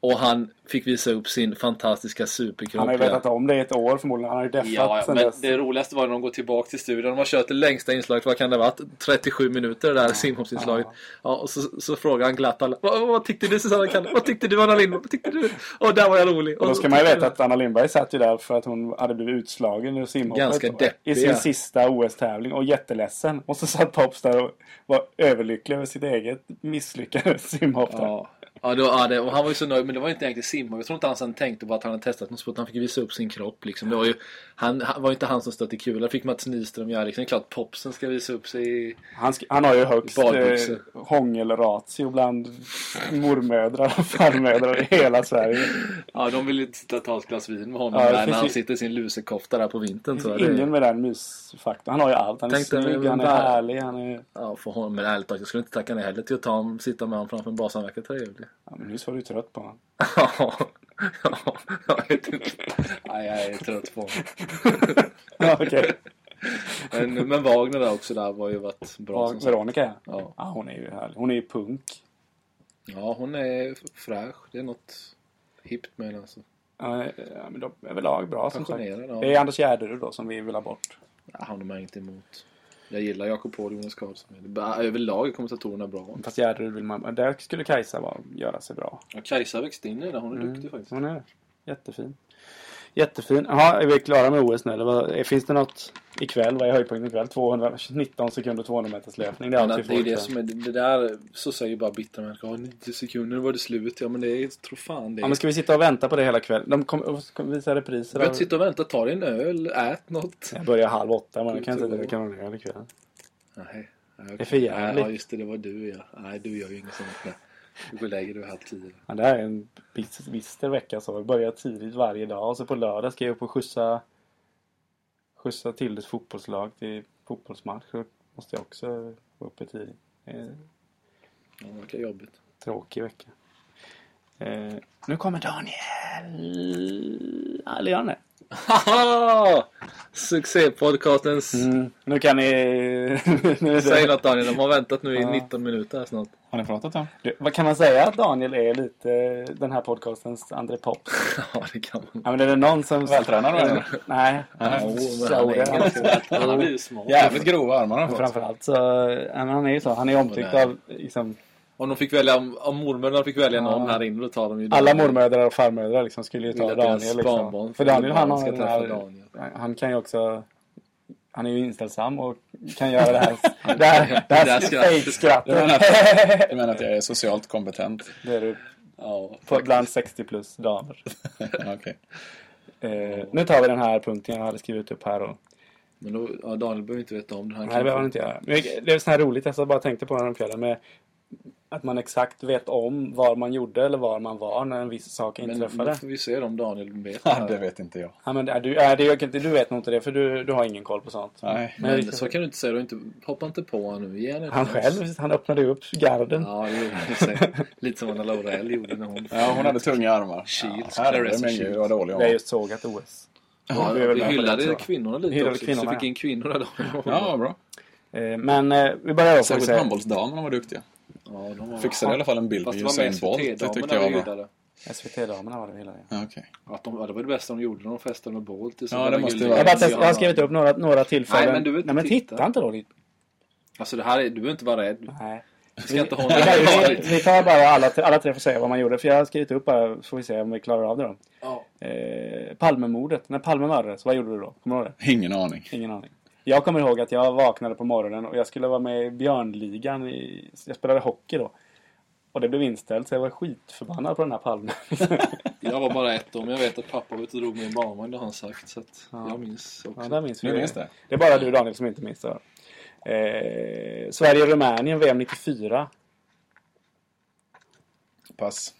Speaker 2: Och han fick visa upp sin fantastiska superkropp.
Speaker 1: Han har ju
Speaker 2: där.
Speaker 1: vetat om det i ett år förmodligen. Han har ju deffat
Speaker 2: Ja, ja
Speaker 1: sen
Speaker 2: men
Speaker 1: dess.
Speaker 2: det roligaste var när de går tillbaka till studion. De har kört det längsta inslaget, vad kan det ha varit? 37 minuter det där simhoppsinslaget. Ja. och så, så frågar han glatt alla, vad, vad tyckte du Susanna Kalle? Vad tyckte du Anna Lindh? Vad tyckte du? Och där var jag rolig.
Speaker 1: Och då ska man ju veta att Anna Lindberg satt ju där för att hon hade blivit utslagen ur simhoppet.
Speaker 2: Ganska
Speaker 1: då, I
Speaker 2: deppiga.
Speaker 1: sin sista OS-tävling och jätteledsen. Och så satt Pops där och var överlycklig över sitt eget misslyckade <laughs> simhopp. där.
Speaker 2: Ja. Ja, det var, ja, det, och han var ju så nöjd, men det var ju inte egentligen simhopp. Jag tror inte ens han tänkte på att han hade testat något sport. Han fick visa upp sin kropp liksom. Det var ju, han, han var ju inte han som stötte kulan. Det fick Mats Nyström göra liksom. Det är klart popsen ska visa upp sig i...
Speaker 1: Han, sk- han har ju högst
Speaker 2: Badbyxor.
Speaker 1: eh, hångelratio bland mormödrar och farmödrar i hela Sverige.
Speaker 2: Ja, de vill ju sitta och ta ett glas vin med honom
Speaker 1: Ja, det
Speaker 2: där
Speaker 1: finns
Speaker 2: när han
Speaker 1: ju-
Speaker 2: sitter i sin lusekofta där på vintern.
Speaker 1: Det
Speaker 2: tror
Speaker 1: finns
Speaker 2: jag. Det är-
Speaker 1: ingen med den mysfaktorn. Han har ju allt. Han är
Speaker 2: Tänk dig,
Speaker 1: snygg,
Speaker 2: men
Speaker 1: han är
Speaker 2: bara-
Speaker 1: härlig, han är...
Speaker 2: Ja, för honom, men ärligt talat, jag skulle inte tacka nej heller till att ta honom, sitta med honom framför en bas. Han verkar trevlig.
Speaker 1: Ja, men nyss var du trött på
Speaker 2: <laughs>
Speaker 1: honom.
Speaker 2: Ja, ja, jag vet inte. Nej, jag är trött på honom.
Speaker 1: Ja, <laughs> Okej.
Speaker 2: Men, men Wagner där också där var ju varit bra. Som sagt.
Speaker 1: Veronica ja.
Speaker 2: Ja.
Speaker 1: ja. Hon är ju härlig. Hon är ju punk.
Speaker 2: ja, hon är f- fräsch. Det är något hippt med henne alltså.
Speaker 1: Ja, ja, men de är överlag bra som sagt.
Speaker 2: Passionerad, ja.
Speaker 1: Det är Anders Gärderud då som vi vill ha bort.
Speaker 2: Ja, han har man inte emot. Jag gillar Jakob Paul och Jonas Karlsson. Det är bara- Överlag är kommentatorerna bra.
Speaker 1: Fast Gärderud vill man... men Där skulle Kajsa vara, göra sig bra.
Speaker 2: Ja, Kajsa växte in i det där.
Speaker 1: Mm.
Speaker 2: Hon är duktig faktiskt.
Speaker 1: Hon är jättefin. Jättefin. Jaha, är vi klara med OS nu eller vad, Finns det något ikväll? Vad är höjdpunkten ikväll? 219 sekunder 200 meters löpning. Det är
Speaker 2: Men
Speaker 1: allt vi
Speaker 2: att
Speaker 1: får.
Speaker 2: det är det
Speaker 1: ikväll.
Speaker 2: som är, det där så säger ju bara bittra människor. Ja, 90 sekunder var det slut. Ja men det är, tror fan det.
Speaker 1: Ja,
Speaker 2: Är.
Speaker 1: men ska vi sitta och vänta på det hela kvällen? De kommer och ska visa repriser.
Speaker 2: Du behöver
Speaker 1: Av...
Speaker 2: inte sitta och vänta. Ta dig en öl, ät något.
Speaker 1: Jag börjar halv åtta men jag kan
Speaker 2: Gå ut
Speaker 1: inte
Speaker 2: och
Speaker 1: dricka
Speaker 2: gå.
Speaker 1: någon öl ikväll.
Speaker 2: Nej.
Speaker 1: Det är för jävligt.
Speaker 2: Ja just det, det var du ja. Nej du gör ju inget sånt. Nej. Du går och lägger dig halv tio.
Speaker 1: Ja, det här är en bis- bister vecka så. Jag börjar tidigt varje dag och så på lördag ska jag upp och skjutsa, skjutsa till ett fotbollslag till fotbollsmatch. Då måste jag också vara uppe tidigt. Det är en
Speaker 2: Ja, det
Speaker 1: <laughs>
Speaker 2: verkar jobbigt.
Speaker 1: tråkig vecka. Eh, nu kommer Daniel! Ja, Eller gör han det?
Speaker 2: Haha! Succépodcastens...
Speaker 1: Mm. Nu kan ni... <laughs> nu är
Speaker 2: Säg
Speaker 1: det.
Speaker 2: något Daniel, de har väntat nu i
Speaker 1: Ja.
Speaker 2: 19 minuter här snart. <laughs>
Speaker 3: Har ni pratat om?
Speaker 1: Du, Vad kan man säga att Daniel är lite den här podcastens André Pops?
Speaker 2: Ja det kan man.
Speaker 1: Ja, men är det någon som...
Speaker 3: Vältränad var han.
Speaker 1: Nej.
Speaker 2: Jo, men han
Speaker 1: Så
Speaker 2: är
Speaker 1: det- <laughs>
Speaker 2: ganska- Han är ju smart.
Speaker 3: Jävligt grova armar har
Speaker 1: Men
Speaker 3: han fått.
Speaker 1: Framförallt så, ja, men han är ju så, han är omtyckt
Speaker 2: nej.
Speaker 1: av liksom,
Speaker 2: Om de fick välja, om om mormödrarna fick välja någon här inne då tar de ju
Speaker 1: alla
Speaker 2: Daniel.
Speaker 1: mormödrar och farmödrar liksom skulle ju
Speaker 2: Vill
Speaker 1: ta
Speaker 2: att deras
Speaker 1: Daniel
Speaker 2: barnbarn
Speaker 1: liksom. För Daniel han har
Speaker 2: ska
Speaker 1: den
Speaker 2: träffa
Speaker 1: här,
Speaker 2: Daniel.
Speaker 1: han kan ju också, han är ju inställsam och kan göra det här,
Speaker 2: <laughs>
Speaker 1: det här, det här
Speaker 2: där skrattet.
Speaker 3: Jag menar,
Speaker 1: fake-skrattet.
Speaker 3: att, <laughs> jag menar att jag är socialt kompetent.
Speaker 1: Det är du,
Speaker 2: Ja.
Speaker 1: på, bland 60 plus damer.
Speaker 3: Ja, Okej.
Speaker 1: Eh, nu tar vi den här punkten jag hade skrivit upp här och,
Speaker 2: Men då, ja, Daniel behöver inte veta om det. Han
Speaker 1: nej det behöver han inte göra. Men det är så här roligt, jag så bara tänkte på det här om kvällen med att man exakt vet om var man gjorde eller var man var när en viss sak
Speaker 2: Men
Speaker 1: inträffade.
Speaker 2: nu får vi se om Daniel vet det
Speaker 3: Ja, det
Speaker 2: här.
Speaker 3: vet inte jag.
Speaker 1: Ja, men är du, är det, jag kan inte, du vet nog inte det för du, du har ingen koll på sånt.
Speaker 3: Nej.
Speaker 1: Men
Speaker 2: Men så kan du inte säga. Du inte, hoppa inte på honom nu. Ge henne ett
Speaker 1: han
Speaker 2: pass.
Speaker 1: själv, han öppnade ju upp garden.
Speaker 2: Ja, det gjorde han i och för sig. Lite som Anna Laurell gjorde när hon...
Speaker 3: Ja, hon hade tunga armar.
Speaker 2: Shields,
Speaker 3: Ja, herre
Speaker 2: Clarissa
Speaker 3: min gud
Speaker 2: Shields.
Speaker 3: vad dålig hon
Speaker 1: Vi har
Speaker 3: var.
Speaker 1: just sågat OS.
Speaker 2: Ja,
Speaker 1: vi är väl med
Speaker 2: vi
Speaker 1: på det
Speaker 2: hyllade
Speaker 1: också.
Speaker 2: kvinnorna lite
Speaker 1: Vi hyllade
Speaker 2: också. så
Speaker 1: kvinnorna,
Speaker 2: fick in kvinnorna då.
Speaker 3: Ja, vad bra.
Speaker 1: Eh, Men eh, vi börjar då. får vi
Speaker 3: Särskilt
Speaker 1: se.
Speaker 3: handbollsdamerna var duktiga.
Speaker 2: ja de var...
Speaker 3: Fixade i alla fall en bild på
Speaker 2: Fast det var
Speaker 3: Usain
Speaker 2: mest
Speaker 3: Bolt. Det tyckte
Speaker 2: SVT-damerna vi
Speaker 3: jag var bra.
Speaker 2: hyllade.
Speaker 1: SVT-damerna var det vi gillade.
Speaker 3: Ja, okej.
Speaker 2: Att de, ja, det var det bästa de gjorde när de festade med Bolt. i
Speaker 3: Ja, det
Speaker 2: sådana
Speaker 3: måste
Speaker 2: guld-
Speaker 3: vara.
Speaker 1: Jag, bara test, jag har skrivit upp några, några tillfällen.
Speaker 2: Nej, men du vill inte
Speaker 1: Nej, men titta,
Speaker 2: titta.
Speaker 1: inte då. dit.
Speaker 2: Alltså det här är, du behöver inte vara rädd.
Speaker 1: Nej.
Speaker 2: Du ska inte ha något
Speaker 1: <laughs> Nej, vi,
Speaker 2: farligt.
Speaker 1: vi tar bara alla, tre- alla tre får säga vad man gjorde. För jag har skrivit upp bara, får vi se om vi klarar av det då.
Speaker 2: Ja.
Speaker 1: Eh, Palmemordet. När Palme mördades, vad gjorde du då? Kommer du ihåg det?
Speaker 3: Ingen aning.
Speaker 1: Ingen aning. Jag kommer ihåg att jag vaknade på morgonen och jag skulle vara med i Björnligan. I, jag spelade hockey då. Och det blev inställt så jag var skitförbannad på den här Palme.
Speaker 2: Jag var bara ett år, men jag vet att pappa var ute och drog mig i barnvagn, det har han sagt. Så att
Speaker 1: Ja.
Speaker 2: jag minns också.
Speaker 1: <laughs> ja, där minns vi
Speaker 3: Du
Speaker 1: det.
Speaker 3: minns det?
Speaker 1: Det är bara du Daniel som inte minns det. här. Eh, Sverige-Rumänien VM 94.
Speaker 3: Pass.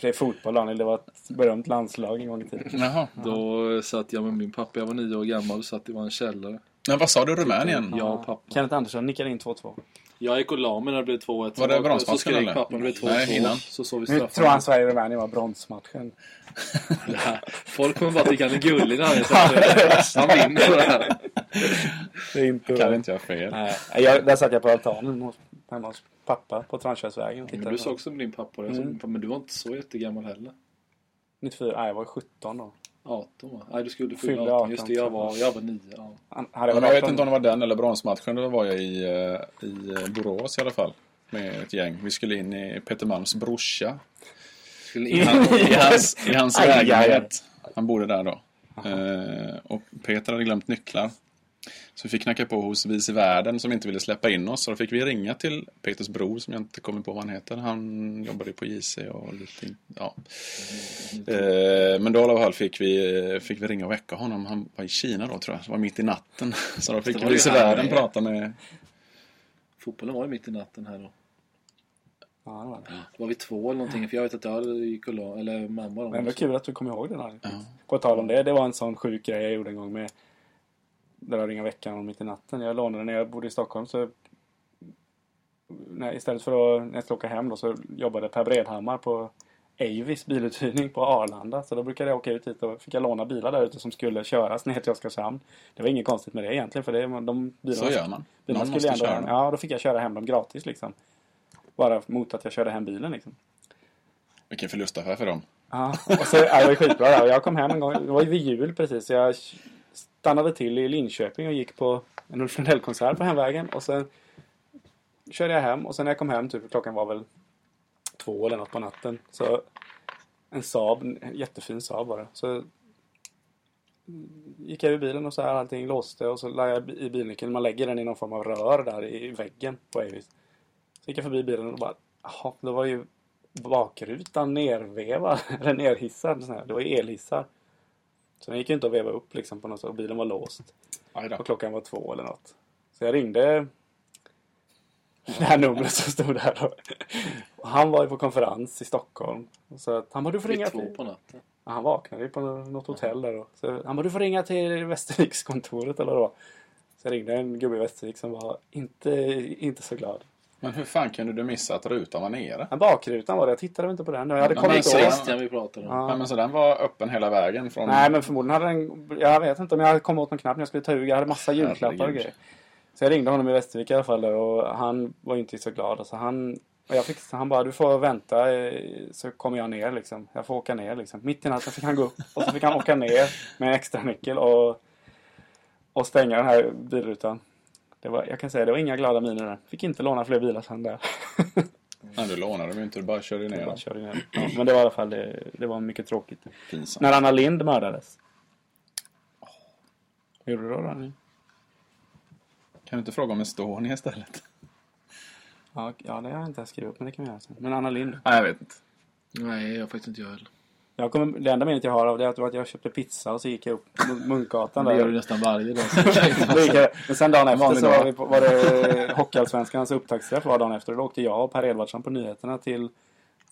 Speaker 1: Det är fotboll Daniel, det var ett berömt landslag en gång i tiden.
Speaker 3: Jaha.
Speaker 2: Då satt jag med min pappa, jag var nio år gammal, satt i vår källare.
Speaker 3: Men vad sa du? Rumänien?
Speaker 2: Jag och pappa.
Speaker 1: Kenneth Andersson nickade in 2-2.
Speaker 2: Jag gick och la mig när det blev 2-1.
Speaker 3: Var det
Speaker 2: Så
Speaker 3: bronsmatchen,
Speaker 2: skrek
Speaker 3: eller?
Speaker 2: pappa när det blev 2-2.
Speaker 3: Nej, innan.
Speaker 2: Så såg vi
Speaker 1: Nu tror han
Speaker 2: <laughs> straffar.
Speaker 1: Sverige-Rumänien var bronsmatchen.
Speaker 2: Folk kommer bara tycka han är gullig när
Speaker 1: <laughs>
Speaker 2: han är så här. Han vinner på det här.
Speaker 1: Det är inte...
Speaker 3: Kan inte jag fel?
Speaker 1: Nej, jag, där satt jag på altanen hos- hemma hos pappa på Transkärrsvägen. och
Speaker 2: Men
Speaker 1: tittade
Speaker 2: du
Speaker 1: på-
Speaker 2: sa också med din pappa det. Jag sa,
Speaker 1: Mm.
Speaker 2: Men du var inte så jättegammal heller.
Speaker 1: 94, nej jag var 17 då.
Speaker 2: 18 va? Nej, du skulle
Speaker 1: Fyllde
Speaker 2: fylla 18. Just
Speaker 1: 18,
Speaker 2: det, jag
Speaker 1: tror jag.
Speaker 2: var, jag var 9. Ja.
Speaker 1: Han, hade
Speaker 3: Men jag vet inte om det var den eller bronsmatchen. Då var jag i, eh, i eh, Borås i alla fall. Med ett gäng. Vi skulle in i Peter Malms brorsa.
Speaker 1: <laughs>
Speaker 2: Skulle
Speaker 3: I,
Speaker 2: in,
Speaker 3: han, <laughs> i hans, i hans
Speaker 1: Aj, aj, aj.
Speaker 3: lägenhet. Han bodde där då. Eh, och Peter hade glömt nycklar. Så vi fick knacka på hos Vis i världen som inte ville släppa in oss. Så då fick vi ringa till Peters bror som jag inte kommer på vad han heter. Han jobbade på JC och lite... in- Ja. Eh, men då i alla fall fick vi, fick vi ringa och väcka honom. Han var i Kina då tror jag. Det var mitt i natten. <laughs> Så då
Speaker 2: Det
Speaker 3: fick
Speaker 2: var ju
Speaker 3: Vis i
Speaker 2: han
Speaker 3: världen
Speaker 2: med.
Speaker 3: prata med...
Speaker 2: fotbollen var ju mitt i natten här då.
Speaker 1: Ja, det var det.
Speaker 3: Mm.
Speaker 2: Var vi två eller någonting? För jag vet att jag hade gick och la, eller mamma de
Speaker 1: Men det var
Speaker 2: också.
Speaker 1: kul att du kom ihåg den här. På tal om det, det var en sån sjuk grej jag gjorde en gång med det där ringa veckan och mitt i natten. Jag lånade när jag bodde i Stockholm så när, istället för att när jag skulle åka hem då så jobbade Per Bredhammar på Avis biluthyrning på Arlanda. Så då brukade jag åka ut hit och fick jag låna bilar där ute som skulle köras ner till Oskarshamn. Det var inget konstigt med det egentligen för det, de bilarna
Speaker 3: Så gör man.
Speaker 1: Bilarna
Speaker 3: Någon
Speaker 1: skulle
Speaker 3: måste
Speaker 1: ändå
Speaker 3: köra
Speaker 1: hem,
Speaker 3: dem.
Speaker 1: Ja, då fick jag köra hem dem gratis liksom. Bara mot att jag körde hem bilen liksom.
Speaker 3: Vilken förlustaffär för dem.
Speaker 1: Ja, och så, ja, det var skitbra där. Och Jag kom hem en gång, det var ju vid jul precis. så Jag stannade till i Linköping och gick på en Ulf Lundell-konsert på hemvägen. Och sen körde jag hem och sen när jag kom hem, typ klockan var väl två eller något på natten. Så en Saab, en jättefin Saab var det. Så gick jag ur bilen och så här allting låste och så la jag bi- i bilnyckeln. Man lägger den i någon form av rör där i väggen på Avis. Så gick jag förbi bilen och bara, jaha, det var ju bakrutan nervevad, <laughs> eller nerhissad. Sån här. Det var ju elhissar. Så den gick ju inte att veva upp liksom på något sätt. Och bilen var låst.
Speaker 3: Aj då.
Speaker 1: Och klockan var två eller något. Så jag ringde det här numret som stod där då. Och han var ju på konferens i Stockholm. Och så att, han bara, du får
Speaker 2: Vi
Speaker 1: ringa
Speaker 2: två
Speaker 1: till...
Speaker 2: på natten.
Speaker 1: Ja, han vaknade ju på något hotell där då. Så han bara, du får ringa till Västervikskontoret eller då. Så jag ringde en gubbe i Västervik som var inte, inte så glad.
Speaker 3: Men hur fan kunde du missa att rutan var nere?
Speaker 1: Men bakrutan var det, jag tittade väl inte på den. Jag hade
Speaker 3: Men
Speaker 2: Det var
Speaker 1: kommit
Speaker 3: så-
Speaker 1: åt.
Speaker 2: Christian vi pratade om.
Speaker 1: Ja.
Speaker 3: Nej, men så den var öppen hela vägen från...
Speaker 1: Nej, men förmodligen hade den... Jag vet inte om jag kom åt någon knapp när jag skulle ta ur. Jag hade massa julklappar och
Speaker 3: Herregud.
Speaker 1: grejer. Så jag ringde honom i Västervik i alla fall och han var ju inte så glad. Så han, och jag fick, han bara, du får vänta eh, så kommer jag ner liksom. Jag får åka ner liksom. Mitt i natten fick han gå upp och så fick han åka ner med en extra nyckel och, och stänga den här bilrutan. Det var, jag kan säga, det var inga glada miner där. Fick inte låna fler bilar sen där.
Speaker 3: Nej, du lånade dem ju inte. Du bara körde
Speaker 1: <laughs>
Speaker 3: ner
Speaker 1: Jag
Speaker 3: dem.
Speaker 1: bara körde ner. Ja, Men det var i alla fall, det, det var mycket tråkigt.
Speaker 3: Pinsamt.
Speaker 1: När Anna Lind mördades. Hur Oh. gjorde du då Daniel?
Speaker 3: Kan du inte fråga om Estonia istället? <laughs>
Speaker 1: Ja, och- ja, det har jag inte ens skrivit upp, men det kan vi göra sen. Men Anna Lind.
Speaker 3: Nej, jag vet inte.
Speaker 2: Nej, jag har faktiskt inte jag heller.
Speaker 1: Jag kommer, det enda minnet jag har av det är att det var att jag köpte pizza och så gick jag upp Mun- Munkgatan
Speaker 2: Det gör
Speaker 1: <laughs>
Speaker 2: du
Speaker 1: där.
Speaker 2: nästan varje dag.
Speaker 1: Då gick jag, men sen dagen efter
Speaker 3: vanlig
Speaker 1: så
Speaker 3: dag.
Speaker 1: var, vi på, var det Hockeyallsvenskans upptaktsträff var dagen efter. Då åkte jag och Per Edvardsson på nyheterna till,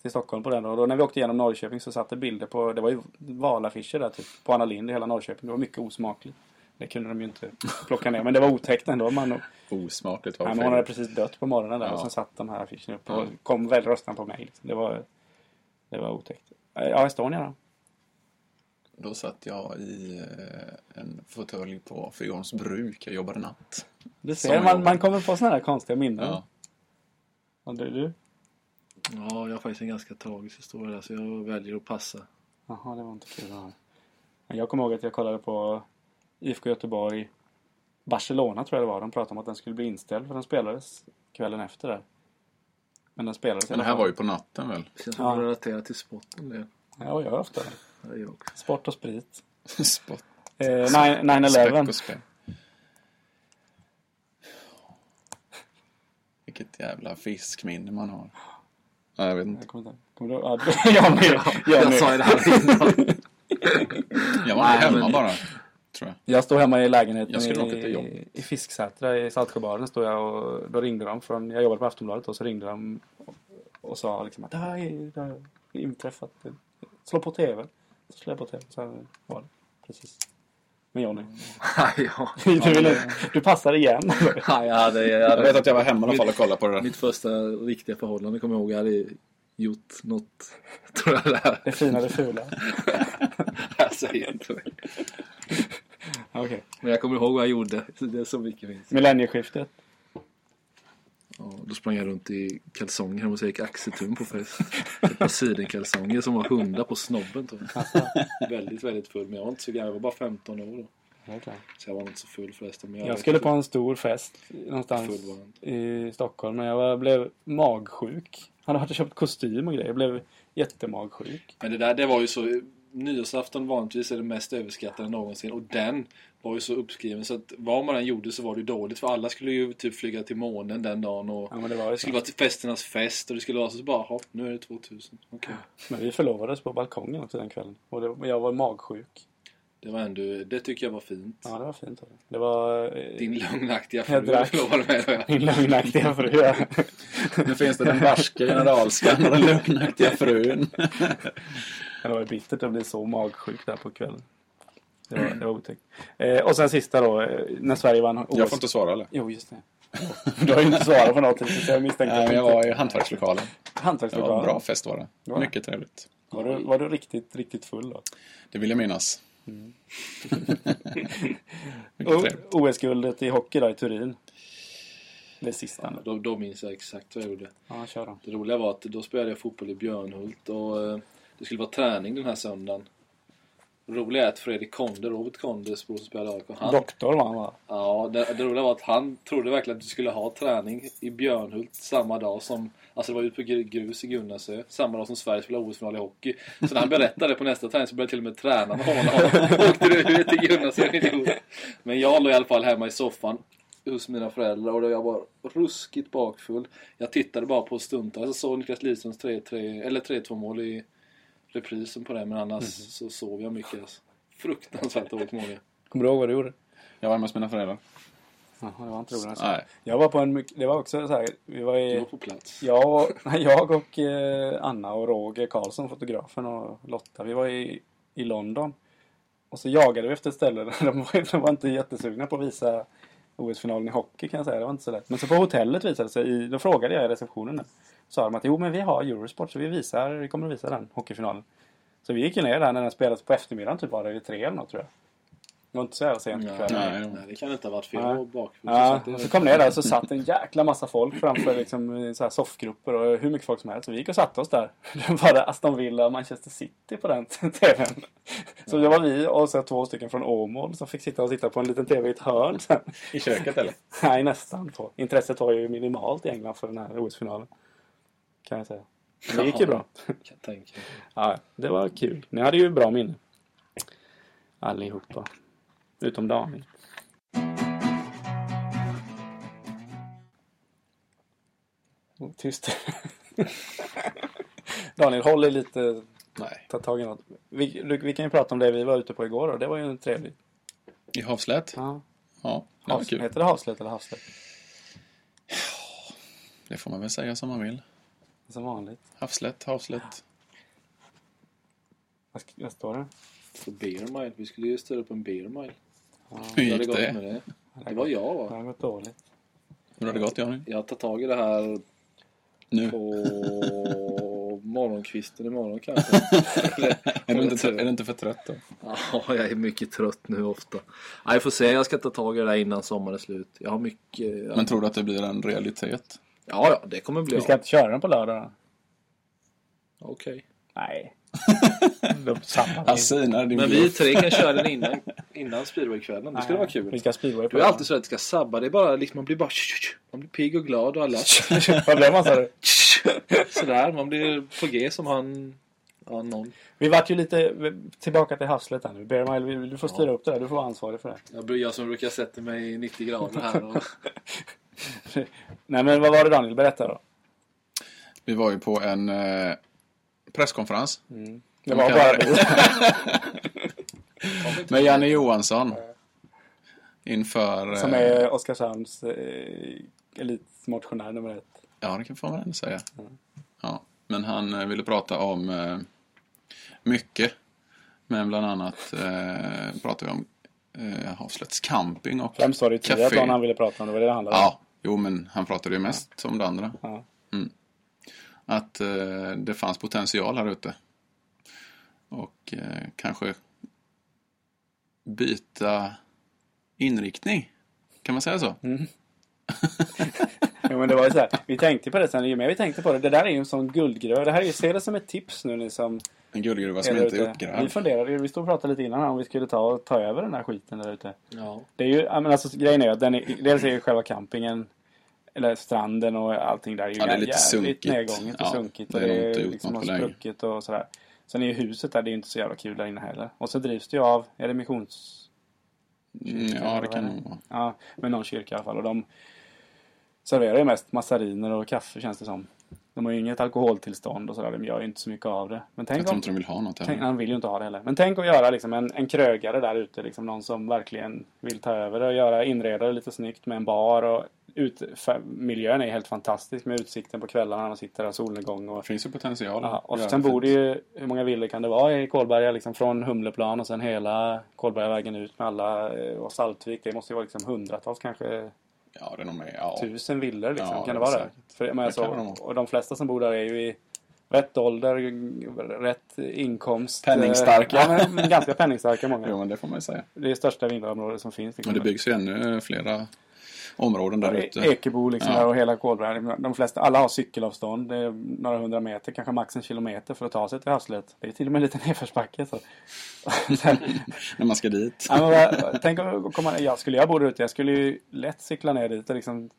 Speaker 1: till Stockholm på den. Och då när vi åkte igenom Norrköping så satt det bilder på, det var ju valaffischer där typ, på Anna Lind i hela Norrköping. Det var mycket osmakligt. Det kunde de ju inte plocka ner. Men det var otäckt ändå. Man,
Speaker 3: Osmakligt var
Speaker 1: Nej,
Speaker 3: det
Speaker 1: men hon hade
Speaker 3: fel.
Speaker 1: precis dött på morgonen där
Speaker 3: Ja.
Speaker 1: och sen satt de här affischerna upp och
Speaker 3: Ja.
Speaker 1: kom väl röstan på mig. Liksom. Det, var, det var otäckt. Eh, Ja, Estonia då?
Speaker 3: Då satt jag i eh, en fåtölj på Fyrjons bruk. Jag jobbade natt.
Speaker 1: Du
Speaker 3: Som
Speaker 1: ser,
Speaker 3: jag
Speaker 1: man,
Speaker 3: gjorde. Mm.
Speaker 1: man kommer på sådana här konstiga minnen.
Speaker 3: Ja.
Speaker 1: Och du, du?
Speaker 2: Ja, jag har faktiskt en ganska tragisk historia där så jag väljer att passa.
Speaker 1: Jaha, det var inte kul att höra. Men Jag kommer ihåg att jag kollade på IFK Göteborg Barcelona tror jag det var. De pratade om att den skulle bli inställd för den spelades kvällen efter där. Men den spelades i
Speaker 3: Men det
Speaker 1: alla
Speaker 3: här
Speaker 1: fall.
Speaker 3: var ju på natten väl? <laughs>
Speaker 2: Det känns som
Speaker 1: Ja.
Speaker 2: att jag relaterar till sporten det.
Speaker 1: Ja, och jag gör ofta det.
Speaker 2: Ja, jag också.
Speaker 1: Sport och sprit.
Speaker 3: Spott.
Speaker 1: Eh,
Speaker 3: <laughs> Späck
Speaker 1: 9-11.
Speaker 3: och spänn. Vilket jävla fiskminne man har. Nej, jag vet inte.
Speaker 1: Jag kommer inte ihåg. Kommer du ihåg? Ja, <laughs> du- jag
Speaker 3: <laughs>
Speaker 1: med. Jag,
Speaker 2: Jag sa ju
Speaker 1: med.
Speaker 2: det
Speaker 1: <laughs>
Speaker 2: här innan.
Speaker 3: Jag var inte
Speaker 2: Nej,
Speaker 3: hemma
Speaker 2: men-
Speaker 3: bara. Tror jag.
Speaker 1: jag stod hemma i lägenheten
Speaker 3: Jag skulle åka till
Speaker 1: i,
Speaker 3: jobbet.
Speaker 1: i Fisksätra i Saltsjöbaden. Stod jag och då ringde de från, jag jobbade på Aftonbladet och så ringde de och, och sa liksom att det här är, det här är inträffat. Slå på TV. Så slår jag på TV. Så här var det. Precis. Men Johnny.
Speaker 3: Mm.
Speaker 2: Nej, ja.
Speaker 1: <laughs> Du, vill, inte- du passar
Speaker 3: <laughs>
Speaker 1: igen.
Speaker 2: Nej, jag hade, jag
Speaker 3: Jag vet
Speaker 2: hade
Speaker 3: att jag var hemma i alla fall och kollade på det där.
Speaker 2: mitt första riktiga förhållande kommer jag ihåg. Jag hade gjort något, <laughs> tror jag det här.
Speaker 1: Det fina, det fula.
Speaker 2: Alltså, Jag säger inte mer.
Speaker 1: Okej.
Speaker 2: Men jag kommer ihåg vad jag gjorde. så Det är så mycket minns.
Speaker 1: Millennieskiftet.
Speaker 2: Ja, då sprang jag runt i kalsonger hemma och så gick axeltum på fest. Ett par sidenkalsonger som var hundar på snobben. Tror jag. väldigt, väldigt full. Men jag var inte så gammal. Jag var bara 15 år då. Så jag var inte så full förresten. Men
Speaker 1: Jag skulle på en stor fest
Speaker 2: Full var
Speaker 1: någonstans
Speaker 2: han.
Speaker 1: i Stockholm men jag var, blev magsjuk. Han hade köpt kostym och grejer. Jag blev jättemagsjuk.
Speaker 2: Men det där, det var ju så... Nyårsafton vanligtvis är det mest överskattade någonsin och den var ju så uppskriven så att vad man än gjorde så var det ju dåligt för alla skulle ju typ flyga till månen den dagen och
Speaker 1: Ja, men det var ju
Speaker 2: det skulle
Speaker 1: så.
Speaker 2: vara till festernas fest och det skulle vara så bara, hopp, nu är det 2000. Okej.
Speaker 1: Men vi förlovades på balkongen också den kvällen. Och det, men jag var magsjuk.
Speaker 2: Det var ändå, det tycker jag var fint.
Speaker 1: Ja, det var fint. av dig. Det var eh,
Speaker 2: Din lögnaktiga
Speaker 1: Jag
Speaker 2: fru <laughs>
Speaker 1: drack.
Speaker 2: lovade mig då.
Speaker 1: din lögnaktiga fru.
Speaker 3: Nu finns det den barske generalskan och den lögnaktiga frun.
Speaker 1: Men Det var ju bittert att bli så magsjuk där på kvällen. Det var, det var otäckt. Eh, och sen sista då, eh, när Sverige vann OS.
Speaker 3: Jag får inte svara eller?
Speaker 1: Jo, just det. Du har ju inte svarat på något, så jag misstänkte
Speaker 3: Nej,
Speaker 1: att
Speaker 3: men
Speaker 1: du
Speaker 3: jag
Speaker 1: inte-
Speaker 3: var i hantverkslokalen. Det var en
Speaker 1: Hantverkslokalen.
Speaker 3: bra fest var det.
Speaker 1: Bra.
Speaker 3: Mycket trevligt.
Speaker 1: Var du, var du riktigt, riktigt full då?
Speaker 3: Det vill jag minnas. Mycket
Speaker 1: O-
Speaker 3: trevligt.
Speaker 1: OS-guldet i hockey då i Turin. Det sista nu.
Speaker 2: Då, då minns jag exakt vad jag gjorde.
Speaker 1: Ja, kör då.
Speaker 2: Det roliga var att då spelade jag fotboll i Björnhult och eh, det skulle vara träning den här söndagen. Det roliga är att Fredrik Konde, Robert Kondes bror som spelade i AIK, han
Speaker 1: Doktor var han va?
Speaker 2: Ja, det, det roliga var att han trodde verkligen att du skulle ha träning i Björnhult samma dag som... Alltså det var ute på gr- grus i Gunnarö, samma dag som Sverige spelade OS-final i hockey. Så när han berättade på nästa träning så började till och med tränarna håna honom. Åkte du ut i Gunnarö? din idiot? Men jag låg i alla fall hemma i soffan hos mina föräldrar och då jag var ruskigt bakfull. Jag tittade bara på stundtals och såg Niklas Lidströms 3-3, eller 3-2 mål i reprisen på det, men annars så sov jag mycket. Alltså. Fruktansvärt dåligt mål. jag.
Speaker 1: Kommer du ihåg vad du gjorde?
Speaker 3: Jag var hemma hos mina föräldrar.
Speaker 1: Jaha, det var inte roligt. alltså.
Speaker 3: Nej,
Speaker 1: Jag var på en mycket, det var också så här, vi var
Speaker 2: Du var
Speaker 1: i,
Speaker 2: på plats.
Speaker 1: jag, och- <laughs> jag och eh, Anna och Roger Karlsson, fotografen och Lotta, vi var i, i London. Och så jagade vi efter ett ställe där <laughs> de var, de var inte jättesugna på att visa OS-finalen i hockey kan jag säga. Det var inte så lätt. Men så på hotellet visade det sig, i, då frågade jag i receptionen. där. Sa de att jo men vi har Eurosport så vi visar, vi kommer att visa den hockeyfinalen. Så vi gick ju ner där när den spelades på eftermiddagen typ var det vid tre eller något tror jag. Det var inte så jävla sent på
Speaker 2: Nej,
Speaker 1: kvällen.
Speaker 3: Nej,
Speaker 2: nej,
Speaker 3: det var-
Speaker 2: det kan inte ha varit fel.
Speaker 1: Nej.
Speaker 2: Det var bakfull.
Speaker 1: Ja,
Speaker 2: Så att
Speaker 1: och
Speaker 2: det-
Speaker 1: så kom ner där så satt en jäkla massa folk framför liksom, eh, så här soffgrupper och hur mycket folk som helst. Så vi gick och satte oss där. <laughs> Det var det Aston Villa och Manchester City på den <laughs> TVn. Så det var vi och så två stycken från Åmål som fick sitta och titta på en liten TV i ett hörn. sen. <laughs>
Speaker 3: i
Speaker 2: <laughs>
Speaker 3: köket eller?
Speaker 1: Nej, nästan på. Intresset var ju minimalt i England för den här OS-finalen. Kan jag säga. Men det gick ju bra.
Speaker 2: Kan tänka. mig.
Speaker 1: Ja, det var kul. Ni hade ju bra minne. Allihopa. Utom Daniel. Oh, Tyst. <laughs> Daniel, håll i lite.
Speaker 3: Nej.
Speaker 1: Ta tag i något. Vi, du, vi kan ju prata om det vi var ute på igår då. Det var ju en trevlig.
Speaker 3: I Havslät?
Speaker 1: Ja.
Speaker 3: Ja, det var
Speaker 1: Havs,
Speaker 3: kul.
Speaker 1: heter det havslätt eller havslätt?
Speaker 3: Det får man väl säga som man vill.
Speaker 1: Som vanligt.
Speaker 3: Havslätt, havslätt.
Speaker 1: Vad, sk- vad står det?
Speaker 2: För beer mile. Vi skulle ju ställa upp en beer mile.
Speaker 3: Hur
Speaker 2: Hur hade
Speaker 3: gick
Speaker 2: gått
Speaker 3: det?
Speaker 2: med det? Det var jag
Speaker 1: Det
Speaker 2: va?
Speaker 1: har gått dåligt.
Speaker 3: Hur har det gått Johnny?
Speaker 2: Jag tar tag i det här
Speaker 3: Nu? <laughs>
Speaker 2: på morgonkvisten imorgon kanske.
Speaker 3: <laughs> Är du, inte, är du inte för trött då?
Speaker 2: Ja, jag är mycket trött nu ofta. Nej, jag får se. Jag ska ta tag i det här innan sommaren är slut. Jag har mycket...
Speaker 3: Men tror du att det blir en realitet?
Speaker 2: Ja, ja, det kommer bli
Speaker 1: Vi ska
Speaker 2: av.
Speaker 1: inte köra den på lördag då?
Speaker 2: Okej.
Speaker 1: Nej. <laughs> De samlar vi.
Speaker 3: Han sinar din
Speaker 2: Men vi
Speaker 3: bluff.
Speaker 2: tre kan köra den innan, innan speedwaykvällen. Det skulle vara
Speaker 1: Vi
Speaker 2: kul.
Speaker 1: ska speedway på
Speaker 2: Du är alltid så att det ska sabba. Det är bara liksom, man blir bara... Man blir pigg och glad och alla... <laughs>
Speaker 1: Vad blev man sa du?
Speaker 2: Sådär, man blir på G som han... Ja, någon.
Speaker 1: Vi vart ju lite tillbaka till havslet här nu. Bear Mile, du får styra upp det där. Du får vara ansvarig för det.
Speaker 2: Jag, bru- jag som brukar sätta mig i 90 grader här <laughs> och...
Speaker 1: Nej men vad var det Daniel? Berätta då.
Speaker 3: Vi var ju på en eh, presskonferens
Speaker 1: Det var
Speaker 3: kan-
Speaker 1: bara du.
Speaker 3: med Janne Johansson. Inför...
Speaker 1: Som
Speaker 3: eh,
Speaker 1: är Oskarshamns eh, elitmotionär nummer ett.
Speaker 3: Ja, det kan får man ändå säga.
Speaker 1: Mm.
Speaker 3: Ja, men han eh, ville prata om eh, mycket. Men bland annat eh, pratade vi om eh, Havslets camping och
Speaker 1: Främst var det ju
Speaker 3: café.
Speaker 1: triathlon han ville prata om. Det var det det handlade om.
Speaker 3: Ja, jo men han pratade ju mest om det andra.
Speaker 1: Ja.
Speaker 3: Mm. Att eh, det fanns potential här ute. Och eh, kanske byta inriktning. Kan man säga så?
Speaker 1: Mm. Ja, men det var ju så här. Vi tänkte på det sen. Ju mer vi tänkte på det. Det där är ju en sån guldgröva. Det här är ju, se det som ett tips nu ni som
Speaker 3: En guldgruva som
Speaker 1: är där
Speaker 3: inte
Speaker 1: ute.
Speaker 3: är
Speaker 1: Vi
Speaker 3: uppgrävd.
Speaker 1: funderade ju. Vi stod och pratade lite innan här om vi skulle ta, och ta över den här skiten där ute.
Speaker 2: Ja.
Speaker 1: Det är ju, ja, men alltså, grejen är ju att den är, dels är ju själva campingen, eller stranden och allting där är ju
Speaker 3: Ja, det är lite
Speaker 1: jävligt
Speaker 3: sunkigt.
Speaker 1: nedgånget och
Speaker 3: Ja,
Speaker 1: sunkigt.
Speaker 3: det
Speaker 1: Och
Speaker 3: är nog
Speaker 1: det är
Speaker 3: inte gjort
Speaker 1: liksom
Speaker 3: något
Speaker 1: har
Speaker 3: på länge.
Speaker 1: spruckit och sådär. Sen är ju huset där, det är ju inte så jävla kul där inne heller. Och så drivs det ju av, är det missions...
Speaker 3: Mm, ja, det kan nog vara.
Speaker 1: Ja, men någon kyrka i alla fall. Och de serverar ju mest massariner och kaffe känns det som. De har ju inget alkoholtillstånd och sådär. De gör ju inte så mycket av det. Men
Speaker 3: Jag
Speaker 1: tänk
Speaker 3: tror
Speaker 1: om...
Speaker 3: inte de vill ha något
Speaker 1: Tänk,
Speaker 3: heller.
Speaker 1: han vill ju inte ha det heller. Men tänk att göra liksom en, en krögare där ute. Liksom någon som verkligen vill ta över det och göra inreda det lite snyggt med en bar. Och ut, fa- miljön är helt fantastisk med utsikten på kvällarna när man sitter där och solnedgång. Och,
Speaker 3: Det finns ju potential.
Speaker 1: ja, och
Speaker 3: Göra
Speaker 1: sen bor
Speaker 3: fint.
Speaker 1: det ju, hur många villor kan det vara i Kolberga? Liksom från Humleplan och sen hela Kolbergavägen ut med alla eh, och Saltvik. Det måste ju vara liksom hundratals kanske
Speaker 3: Ja, det är nog med. Ja.
Speaker 1: tusen villor liksom. kan
Speaker 3: Ja,
Speaker 1: det
Speaker 3: det är
Speaker 1: vara det?
Speaker 3: säkert.
Speaker 1: För, men
Speaker 3: Det
Speaker 1: alltså,
Speaker 3: kan det nog.
Speaker 1: och de flesta som bor där är ju i rätt ålder, g- rätt inkomst.
Speaker 3: Penningstarka.
Speaker 1: Eh, Ja, men ganska penningstarka många.
Speaker 3: <laughs> Jo, men det får man ju säga.
Speaker 1: Det är största villaområdet som finns. Liksom.
Speaker 3: Men det byggs ju ännu flera områden där
Speaker 1: E-
Speaker 3: ute.
Speaker 1: Ekebo liksom
Speaker 3: Ja.
Speaker 1: där och hela Kolberga. De flesta, alla har cykelavstånd. Det är några hundra meter, kanske max en kilometer för att ta sig till havslet. Det är till och med lite nedförsbacke. Så.
Speaker 3: <laughs>
Speaker 1: <laughs>
Speaker 3: När man ska dit.
Speaker 1: Ja, men vad, tänk om komma, jag skulle jag bo där ute, jag skulle ju lätt cykla ner dit och liksom...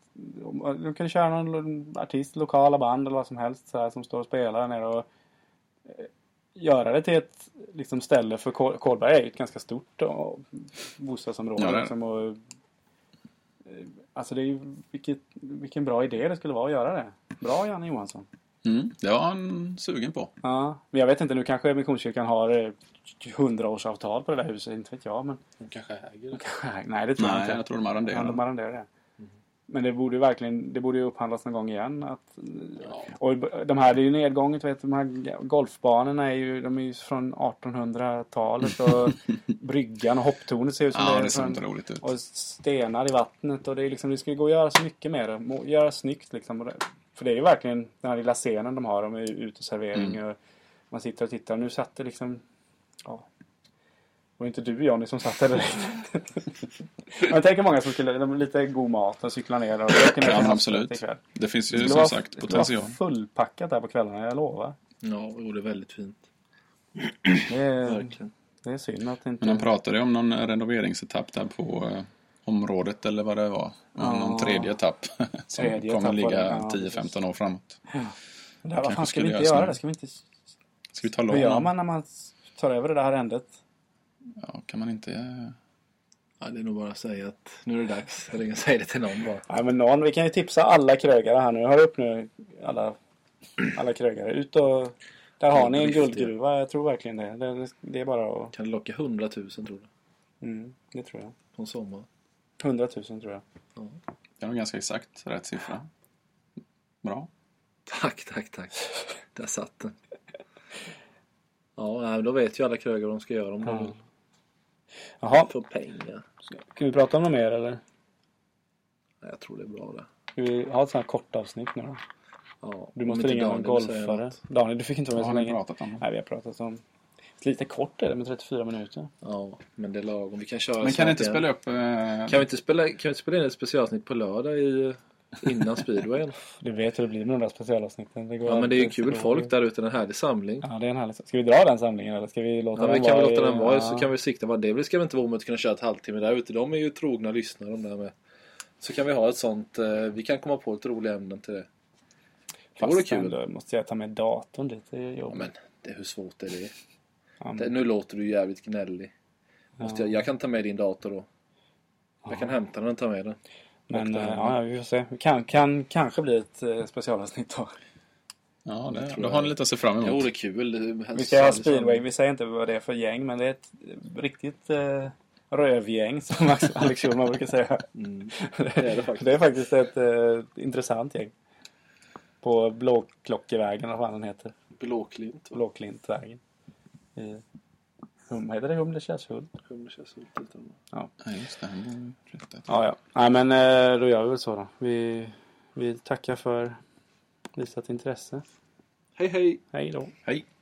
Speaker 1: om- Du kan köra någon lo- artist, lokala band eller vad som helst så här, som står och spelar där nere och... eh, Göra det till ett liksom, ställe för Kol- Kolberg är ju ett ganska stort och, bostadsområde.
Speaker 3: Ja, det är det.
Speaker 1: liksom, och, eh, alltså det är ju... Vilket, vilken bra idé det skulle vara att göra det. Bra Janne Johansson.
Speaker 3: Mm, det var han sugen på.
Speaker 1: Ja, men jag vet inte, nu kanske Missionskyrkan har hundraårsavtal på det där huset, inte vet jag. Men... <laughs>
Speaker 2: De kanske äger det.
Speaker 1: Kanske- Nej, det tror jag
Speaker 3: Nej,
Speaker 1: inte.
Speaker 3: jag tror de
Speaker 1: Ja, de
Speaker 3: arrenderade.
Speaker 1: arrenderar det. Men det borde ju verkligen, det borde ju upphandlas någon gång igen. Att, Och de här, det är ju nedgånget, vet, du, de här golfbanorna är ju, de är ju från 1800-talet
Speaker 3: <laughs>
Speaker 1: och bryggan och hopptornet ser ut som
Speaker 3: Ja,
Speaker 1: är
Speaker 3: det ser
Speaker 1: från-
Speaker 3: inte roligt ut.
Speaker 1: Och stenar i vattnet och det är liksom, det ska ju gå att göra så mycket med det. Må- Göra snyggt liksom. Och det- För det är ju verkligen den här lilla scenen de har, de är ju uteservering
Speaker 3: Mm.
Speaker 1: och man sitter och tittar. Nu satt det liksom, ja. Det var inte du Johnny som satt där
Speaker 3: <laughs>
Speaker 1: direkt. Men tänk hur många som skulle, de- lite god mat och cykla ner och åker ner
Speaker 3: Ja,
Speaker 1: till
Speaker 3: men
Speaker 1: havsbotten
Speaker 3: absolut.
Speaker 1: ikväll.
Speaker 3: Det finns
Speaker 1: Det
Speaker 3: ju
Speaker 1: skulle
Speaker 3: som
Speaker 1: vara-
Speaker 3: sagt
Speaker 1: Det skulle
Speaker 3: potential.
Speaker 1: vara fullpackat där på kvällarna, jag lovar.
Speaker 2: Ja, jo, det är väldigt fint.
Speaker 1: Det är,
Speaker 2: Verkligen.
Speaker 1: det är synd att det inte...
Speaker 3: Men han pratade ju om någon renoveringsetapp där på eh, området eller vad det var.
Speaker 1: Ja.
Speaker 3: Någon tredje etapp <laughs> som
Speaker 1: Tredje
Speaker 3: kommer
Speaker 1: etapp var det,
Speaker 3: ligga
Speaker 1: ja, precis.
Speaker 3: 10-15 år framåt.
Speaker 1: det här, vad
Speaker 3: kanske
Speaker 1: fan ska vi
Speaker 3: skulle
Speaker 1: inte
Speaker 3: göras
Speaker 1: göra
Speaker 3: nu.
Speaker 1: det? Ska vi inte...
Speaker 3: Ska vi ta
Speaker 1: Vad gör
Speaker 3: lån?
Speaker 1: man när man tar över det där arrendet?
Speaker 3: Ja, kan man inte... eh,
Speaker 2: Ja, det är nog bara att säga att nu är det dags. Ring och säg det till någon bara.
Speaker 1: Nej men någon, vi kan ju tipsa alla krögare här nu. Hör upp nu alla, alla krögare. Ut och... Där har ni en
Speaker 2: Riktiga.
Speaker 1: guldgruva, jag tror verkligen det. Det, det är bara att...
Speaker 2: Kan det locka hundratusen tror du?
Speaker 1: Mm, det tror jag.
Speaker 2: På en sommar?
Speaker 1: Hundratusen tror jag.
Speaker 3: Det är nog ganska exakt rätt siffra. Bra.
Speaker 2: Tack, tack, tack. Där satt den. Ja, nej, men då vet ju alla krögare vad de ska göra om de
Speaker 1: Ja.
Speaker 2: vill
Speaker 1: Jaha,
Speaker 2: få pengar.
Speaker 1: ska vi prata om något mer eller?
Speaker 2: Nej, jag tror det är bra det.
Speaker 1: Ska vi ha ett sånt här kort avsnitt nu då?
Speaker 2: Ja,
Speaker 1: Du
Speaker 2: om
Speaker 1: måste
Speaker 2: inte
Speaker 1: ringa någon
Speaker 2: Daniel vill säga
Speaker 1: golfare.
Speaker 2: något.
Speaker 1: Daniel, du fick inte vara med
Speaker 3: Vad har
Speaker 1: så
Speaker 3: ni
Speaker 1: länge.
Speaker 3: pratat om?
Speaker 1: Nej, vi har pratat om... Lite kort är det med 34 minuter.
Speaker 2: Ja, men det är lagom. Vi kan köra
Speaker 3: Men kan
Speaker 2: snart
Speaker 3: ni inte
Speaker 2: igen.
Speaker 3: spela upp... eh,
Speaker 2: Kan vi inte spela, kan vi inte spela in ett specialavsnitt på lördag i
Speaker 1: <laughs>
Speaker 2: Innan speedwayen.
Speaker 1: Du vet hur det blir med de där specialavsnitten. går
Speaker 2: Ja men det är ju
Speaker 1: alltid-
Speaker 2: kul folk där ute, en härlig samling.
Speaker 1: Ja, det är en härlig Ska vi dra den samlingen eller ska vi låta
Speaker 2: Ja, vi
Speaker 1: den
Speaker 2: kan väl
Speaker 1: vara
Speaker 2: låta
Speaker 1: i-
Speaker 2: den vara
Speaker 1: Ja.
Speaker 2: så kan vi sikta på det. Det ska väl inte vara omöjligt att kunna köra ett halvtimme där ute. De är ju trogna lyssnare de där med. Så kan vi ha ett sånt, eh, vi kan komma på lite roliga ämnen till det. Det vore
Speaker 1: Fast
Speaker 2: kul.
Speaker 1: ändå måste jag ta med datorn dit i
Speaker 2: Ja,
Speaker 1: jobbet.
Speaker 2: men det, hur svårt är det?
Speaker 1: Ja,
Speaker 2: det?
Speaker 1: men,
Speaker 2: Nu låter du jävligt gnällig. Måste jag, jag kan ta med din dator då. Jag kan hämta den och ta med den.
Speaker 1: men
Speaker 2: åkte
Speaker 1: eh,
Speaker 2: hem.
Speaker 1: ja, ja, vi får se. Det Kan, kan kanske bli ett eh, specialavsnitt då.
Speaker 3: Ja, det,
Speaker 2: tror
Speaker 3: då
Speaker 2: jag.
Speaker 3: har ni lite att se fram
Speaker 2: Det
Speaker 3: emot.
Speaker 2: vore kul. Det- liksom.
Speaker 1: Vi ska ha speedway. Vi säger inte vad det är för gäng men det är ett riktigt eh, rövgäng som <laughs> Max- Alex Schulman brukar säga. <laughs>
Speaker 2: Mm.
Speaker 1: Det
Speaker 2: är det faktiskt.
Speaker 1: det är faktiskt ett eh, intressant gäng. På Blåklockevägen eller vad fan den heter.
Speaker 2: Blåklint. va?
Speaker 1: Blåklintvägen. I hum, heter det Humlekärrshult?
Speaker 2: Humle känns lite utan-
Speaker 3: Ja, just det. Han bor i Rättet.
Speaker 1: Ja, ja. Nej, men eh, då gör vi väl så då. Vi, vi tackar för visat intresse.
Speaker 2: Hej hej!
Speaker 1: Hej då.
Speaker 3: Hej!